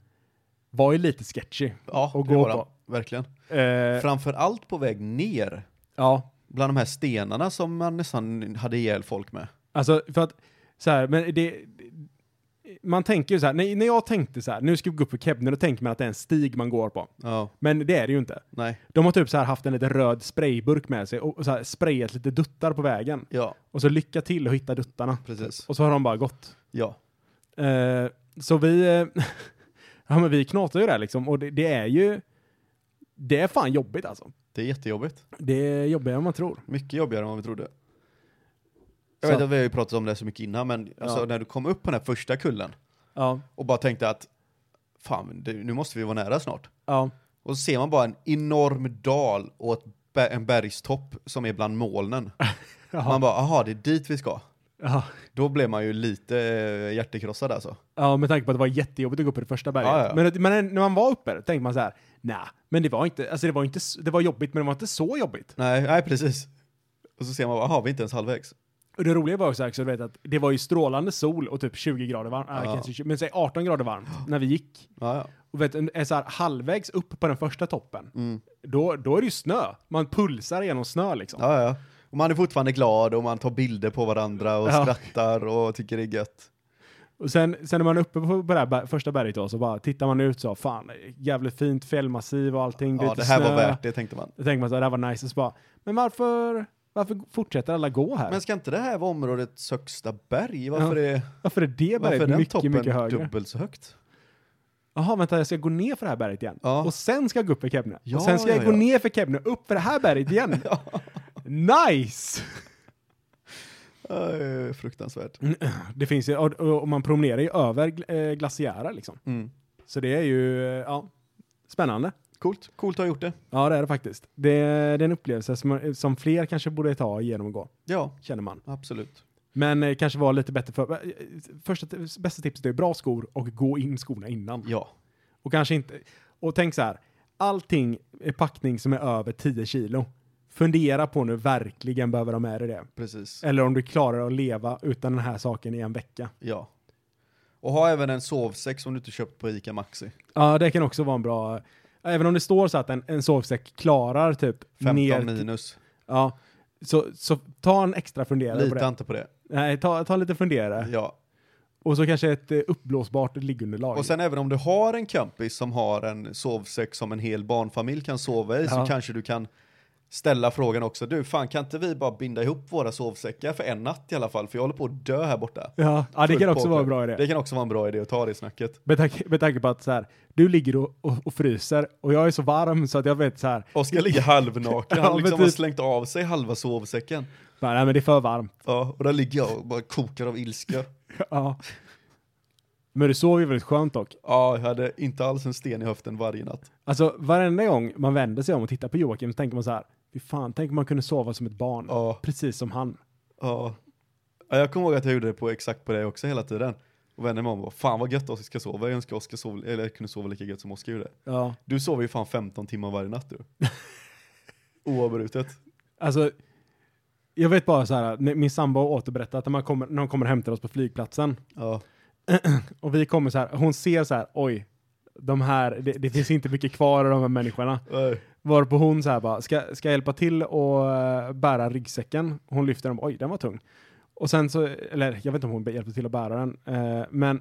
[SPEAKER 3] var ju lite sketchy.
[SPEAKER 2] Ja,
[SPEAKER 3] Och
[SPEAKER 2] det
[SPEAKER 3] gå
[SPEAKER 2] var den.
[SPEAKER 3] på.
[SPEAKER 2] Verkligen.
[SPEAKER 3] Eh,
[SPEAKER 2] Framförallt på väg ner,
[SPEAKER 3] ja,
[SPEAKER 2] bland de här stenarna som man nästan hade ihjäl folk med.
[SPEAKER 3] alltså för att så här, men det, man tänker ju så här, när, när jag tänkte så här, nu ska vi gå upp för Kebner, då tänker man att det är en stig man går på.
[SPEAKER 2] Ja,
[SPEAKER 3] Men det är det ju inte.
[SPEAKER 2] nej.
[SPEAKER 3] De har typ så här haft en liten röd sprayburk med sig och och så här sprayat lite duttar på vägen.
[SPEAKER 2] Ja,
[SPEAKER 3] Och så lycka till att hitta duttarna.
[SPEAKER 2] precis.
[SPEAKER 3] Och så har de bara gått.
[SPEAKER 2] Ja.
[SPEAKER 3] Eh, så vi, eh, ja men vi knatar ju där liksom och det, det är ju, det är fan jobbigt alltså.
[SPEAKER 2] Det är jättejobbigt.
[SPEAKER 3] Det är jobbigare än man tror.
[SPEAKER 2] Mycket jobbigare än vad vi trodde. Jag
[SPEAKER 3] Så.
[SPEAKER 2] vet att vi har ju pratat om det så mycket innan, men alltså,
[SPEAKER 3] Ja.
[SPEAKER 2] när du kom upp på den här första kullen
[SPEAKER 3] Ja,
[SPEAKER 2] och bara tänkte att fan, det, nu måste vi vara nära snart.
[SPEAKER 3] ja,
[SPEAKER 2] Och så ser man bara en enorm dal och ett, ber- en bergstopp som är bland molnen. Man bara, aha, det är dit vi ska.
[SPEAKER 3] ja.
[SPEAKER 2] Då blev man ju lite eh, hjärtekrossad alltså.
[SPEAKER 3] Ja, med tanke på att det var jättejobbigt att gå upp i det första berget.
[SPEAKER 2] Ja, ja.
[SPEAKER 3] Men, att- men när man var uppe där tänkte man så här, nej, men det var inte, alltså det var inte, s- det var jobbigt men det var inte så jobbigt.
[SPEAKER 2] Nej, nej precis. Och så ser man bara, aha, vi är inte ens halvvägs.
[SPEAKER 3] Och det roliga var också, också du vet, att det var ju strålande sol och typ 20 grader varmt, äh,
[SPEAKER 2] Ja.
[SPEAKER 3] kanske 20, men säg 18 grader varmt när vi gick.
[SPEAKER 2] Ja, ja.
[SPEAKER 3] Och vet, du, är så här, halvvägs upp på den första toppen,
[SPEAKER 2] Mm.
[SPEAKER 3] då, då är det ju snö. Man pulsar genom snö liksom.
[SPEAKER 2] Ja, ja. Och man är fortfarande glad och man tar bilder på varandra och
[SPEAKER 3] Ja.
[SPEAKER 2] skrattar och tycker det är gött.
[SPEAKER 3] Och sen, sen när man är uppe på, på det här ber- första berget då, så bara tittar man ut så, fan, jävligt fint fjällmassiv och allting.
[SPEAKER 2] Ja,
[SPEAKER 3] lite
[SPEAKER 2] det här
[SPEAKER 3] snö.
[SPEAKER 2] var värt det tänkte man.
[SPEAKER 3] Då tänker man så här, det här var nice. Och så bara, men varför, varför fortsätter alla gå här?
[SPEAKER 2] Men ska inte det här vara områdets högsta berg? Varför är,
[SPEAKER 3] varför är det
[SPEAKER 2] varför är
[SPEAKER 3] berget
[SPEAKER 2] den
[SPEAKER 3] mycket,
[SPEAKER 2] toppen
[SPEAKER 3] mycket högre?
[SPEAKER 2] dubbelt så högt?
[SPEAKER 3] Jaha, vänta, jag ska gå ner för det här berget igen.
[SPEAKER 2] Ja.
[SPEAKER 3] Och sen ska jag gå upp för Kebne.
[SPEAKER 2] Ja,
[SPEAKER 3] och sen ska
[SPEAKER 2] ja,
[SPEAKER 3] jag gå
[SPEAKER 2] ja.
[SPEAKER 3] ner för Kebne, upp för det här berget igen. Nice!
[SPEAKER 2] Aj, fruktansvärt.
[SPEAKER 3] Mm. Det finns ju, och, och och man promenerar ju över gl- eh, glaciärer liksom.
[SPEAKER 2] Mm.
[SPEAKER 3] Så det är ju, eh, ja, spännande.
[SPEAKER 2] Coolt, coolt att ha gjort det.
[SPEAKER 3] Ja, det är det faktiskt. Det, det är en upplevelse som, som fler kanske borde ta igenom och gå,
[SPEAKER 2] Ja,
[SPEAKER 3] känner man.
[SPEAKER 2] absolut.
[SPEAKER 3] Men eh, kanske vara lite bättre för... eh, Första, t- bästa tipset är bra skor och gå in skorna innan.
[SPEAKER 2] Ja,
[SPEAKER 3] Och kanske inte... Och tänk så här, allting är packning som är över 10 kilo. Fundera på nu, verkligen behöver de med dig det?
[SPEAKER 2] precis.
[SPEAKER 3] Eller om du klarar att leva utan den här saken i en vecka.
[SPEAKER 2] Ja. Och ha även en sovsäck som du inte köpt på Ica Maxi.
[SPEAKER 3] Ja, det kan också vara en bra... Även om det står så att en, en sovsäck klarar typ
[SPEAKER 2] 15
[SPEAKER 3] ner... till-
[SPEAKER 2] minus.
[SPEAKER 3] Ja. Så, så ta en extra funderare på
[SPEAKER 2] Lita
[SPEAKER 3] det.
[SPEAKER 2] inte på det.
[SPEAKER 3] Nej, ta, ta lite funderare.
[SPEAKER 2] Ja.
[SPEAKER 3] Och så kanske ett eh, uppblåsbart liggunderlag.
[SPEAKER 2] Och sen även om du har en kompis som har en sovsäck som en hel barnfamilj kan sova i så
[SPEAKER 3] Ja.
[SPEAKER 2] kanske du kan ställa frågan också. Du, fan kan inte vi bara binda ihop våra sovsäckar för en natt i alla fall? För jag håller på att dö här borta.
[SPEAKER 3] Ja, ja det
[SPEAKER 2] Fullt
[SPEAKER 3] kan också vara en
[SPEAKER 2] påklädd.
[SPEAKER 3] bra idé.
[SPEAKER 2] Det kan också vara en bra idé att ta det snacket.
[SPEAKER 3] Med tanke, med tanke på att så här, du ligger och, och, och fryser och jag är så varm så att jag vet så här,
[SPEAKER 2] Oskar ligger halvnaken,
[SPEAKER 3] Ja,
[SPEAKER 2] han
[SPEAKER 3] men
[SPEAKER 2] liksom har
[SPEAKER 3] typ.
[SPEAKER 2] slängt av sig halva sovsäcken.
[SPEAKER 3] bara, nej men det är för varmt.
[SPEAKER 2] Ja, och där ligger jag och bara kokar av ilska.
[SPEAKER 3] Ja. Men du sover ju väldigt skönt dock.
[SPEAKER 2] Ja, jag hade inte alls en sten i höften varje natt.
[SPEAKER 3] Alltså varenda gång man vänder sig om och tittar på Joakim så tänker man så här, fy fan, tänk om man kunde sova som ett barn.
[SPEAKER 2] Ja,
[SPEAKER 3] Precis som han.
[SPEAKER 2] ja. ja jag kommer ihåg att jag gjorde det på exakt på det också hela tiden. Och vände mig om och bara, fan vad gött Oskar ska sova. Jag önskar Oskar sov, eller jag kunde sova lika gött som Oskar gjorde.
[SPEAKER 3] Ja.
[SPEAKER 2] Du sover ju fan 15 timmar varje natt du. Oavbrutet.
[SPEAKER 3] Alltså, jag vet bara så här, när min sambo har återberättat att när, man kommer, när hon kommer och hämtar oss på flygplatsen
[SPEAKER 2] Ja,
[SPEAKER 3] och vi kommer så här, hon ser så här, oj, de här, det, det finns inte mycket kvar av de här människorna.
[SPEAKER 2] Nej.
[SPEAKER 3] Varpå hon så här bara, ska, ska jag hjälpa till och eh, bära ryggsäcken? Hon lyfter den, oj den var tung. Och sen så, eller jag vet inte om hon hjälpte till att bära den, eh, men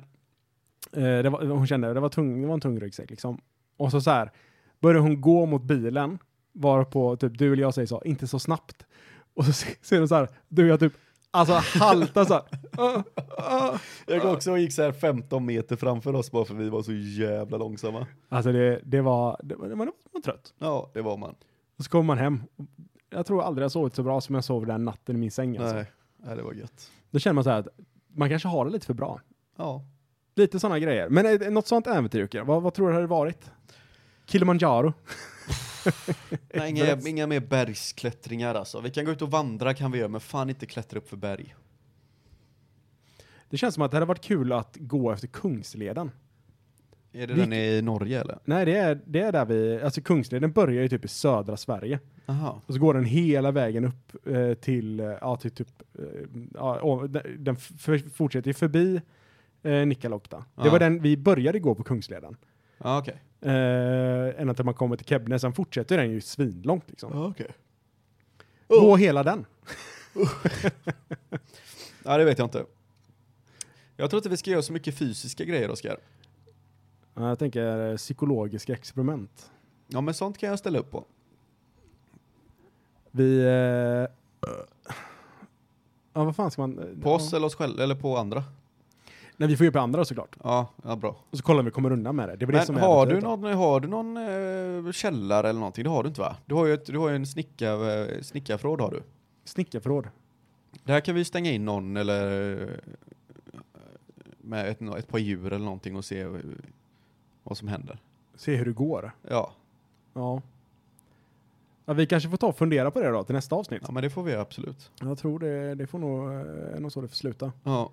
[SPEAKER 3] eh, det var, hon kände det var, tung, det var en tung ryggsäck liksom. Och så så här, började hon gå mot bilen, varpå typ du eller jag säger så, inte så snabbt. Och så se- ser hon så här, du jag typ, alltså haltar så här. "Åh, åh."
[SPEAKER 2] jag kom också och gick så här 15 meter framför oss bara för vi var så jävla långsamma.
[SPEAKER 3] Alltså det, det var, det var, man var trött.
[SPEAKER 2] Ja, det var man.
[SPEAKER 3] Och så kommer man hem. Jag tror aldrig jag sovit så bra som jag sov den natten i min säng. Alltså.
[SPEAKER 2] Nej. Nej, det var gött.
[SPEAKER 3] Då känner man så här att man kanske har det lite för bra.
[SPEAKER 2] Ja.
[SPEAKER 3] Lite sådana grejer. Men eh, något sånt äventyr, Jocke, vad, vad tror du det hade varit? Kilimanjaro?
[SPEAKER 2] Nej, inga,
[SPEAKER 3] Everest.
[SPEAKER 2] inga mer bergsklättringar alltså. Vi kan gå ut och vandra kan vi göra, men fan inte klättra upp för berg.
[SPEAKER 3] Det känns som att det hade varit kul att gå efter Kungsleden.
[SPEAKER 2] Är det
[SPEAKER 3] Vi-
[SPEAKER 2] den i Norge eller?
[SPEAKER 3] Nej, det är, det är där vi... Alltså Kungsleden börjar ju typ i södra Sverige.
[SPEAKER 2] Aha.
[SPEAKER 3] Och så går den hela vägen upp eh, till, eh, ja, till typ... Eh, ja, och den- den f- f- fortsätter ju förbi eh, Nikkaluokta. Det
[SPEAKER 2] Ja.
[SPEAKER 3] var den vi började gå på Kungsleden.
[SPEAKER 2] Ja, okej.
[SPEAKER 3] Eh, ända till man kommer till Kebne, sen fortsätter den ju svinlångt liksom.
[SPEAKER 2] Ja, okej.
[SPEAKER 3] Gå hela den.
[SPEAKER 2] Ja, det vet jag inte. Jag tror inte vi ska göra så mycket fysiska grejer, Oskar.
[SPEAKER 3] Ja, Jag tänker eh, psykologiska experiment.
[SPEAKER 2] Ja, men sånt kan jag ställa upp på.
[SPEAKER 3] Vi... Eh, ja, vad fan ska man... eh,
[SPEAKER 2] På oss
[SPEAKER 3] Ja.
[SPEAKER 2] eller oss själva, eller på andra.
[SPEAKER 3] Nej, vi får ju på andra såklart.
[SPEAKER 2] Ja, ja bra.
[SPEAKER 3] Och så kollar vi om vi kommer undan med det. Det är väl det som
[SPEAKER 2] Men har
[SPEAKER 3] är
[SPEAKER 2] du, någon, har du någon eh, källare eller någonting? Det har du inte va? Du har ju, ett, du har ju en snicka, eh, snickarförråd har du.
[SPEAKER 3] Snickarförråd.
[SPEAKER 2] Där kan vi stänga in någon eller eh, med ett, ett par djur eller någonting och se eh, vad som händer.
[SPEAKER 3] Se hur det går.
[SPEAKER 2] Ja,
[SPEAKER 3] Ja. ja. Vi kanske får ta och fundera på det då till nästa avsnitt.
[SPEAKER 2] ja men det får vi göra, absolut.
[SPEAKER 3] Jag tror det, det får nog, eh, nog så det får sluta.
[SPEAKER 2] Ja.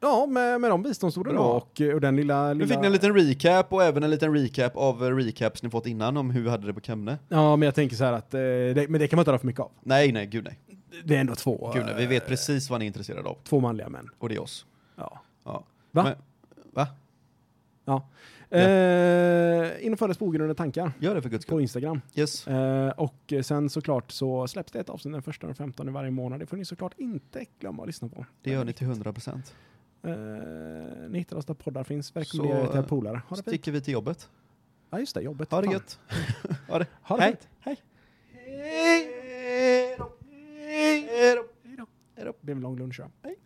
[SPEAKER 3] Ja, med, med de biståndsorden då
[SPEAKER 2] Bra.
[SPEAKER 3] och, eh, och den lilla... lilla...
[SPEAKER 2] Nu fick ni en liten recap och även en liten recap av eh, recaps ni fått innan om hur vi hade det på Kemne.
[SPEAKER 3] Ja, men jag tänker så här att, eh, det, men det kan man inte ha för mycket av.
[SPEAKER 2] Nej, nej, gud nej.
[SPEAKER 3] Det är ändå två,
[SPEAKER 2] Gud, nej. Vi vet
[SPEAKER 3] eh,
[SPEAKER 2] precis vad ni är intresserade av
[SPEAKER 3] två manliga män.
[SPEAKER 2] och det är oss.
[SPEAKER 3] Ja.
[SPEAKER 2] Ja.
[SPEAKER 3] Va?
[SPEAKER 2] Men- va?
[SPEAKER 3] Ja.
[SPEAKER 2] Ja.
[SPEAKER 3] Eh, in och följ oss på Ogrundade tankar
[SPEAKER 2] Gör det för guds skull.
[SPEAKER 3] på Instagram.
[SPEAKER 2] Yes.
[SPEAKER 3] Eh, och sen såklart så släpps det ett avsnitt den första och den 15 i varje månad. Det får ni såklart inte glömma att lyssna på.
[SPEAKER 2] Det gör ni till 100%.
[SPEAKER 3] Eh, ni hittar oss där poddar finns.
[SPEAKER 2] Så,
[SPEAKER 3] Rekommenderar er till era
[SPEAKER 2] eh,
[SPEAKER 3] polare. Ha det fint.
[SPEAKER 2] Sticker vi till jobbet.
[SPEAKER 3] Ja, just det. Jobbet.
[SPEAKER 2] Ha det
[SPEAKER 3] Fan.
[SPEAKER 2] gött. ha det.
[SPEAKER 3] Ha det
[SPEAKER 2] Hej.
[SPEAKER 3] fint.
[SPEAKER 2] Hej. Hej då. Hej då. Hej då.
[SPEAKER 3] Det blir en lång lunch. Ja.
[SPEAKER 2] Hej.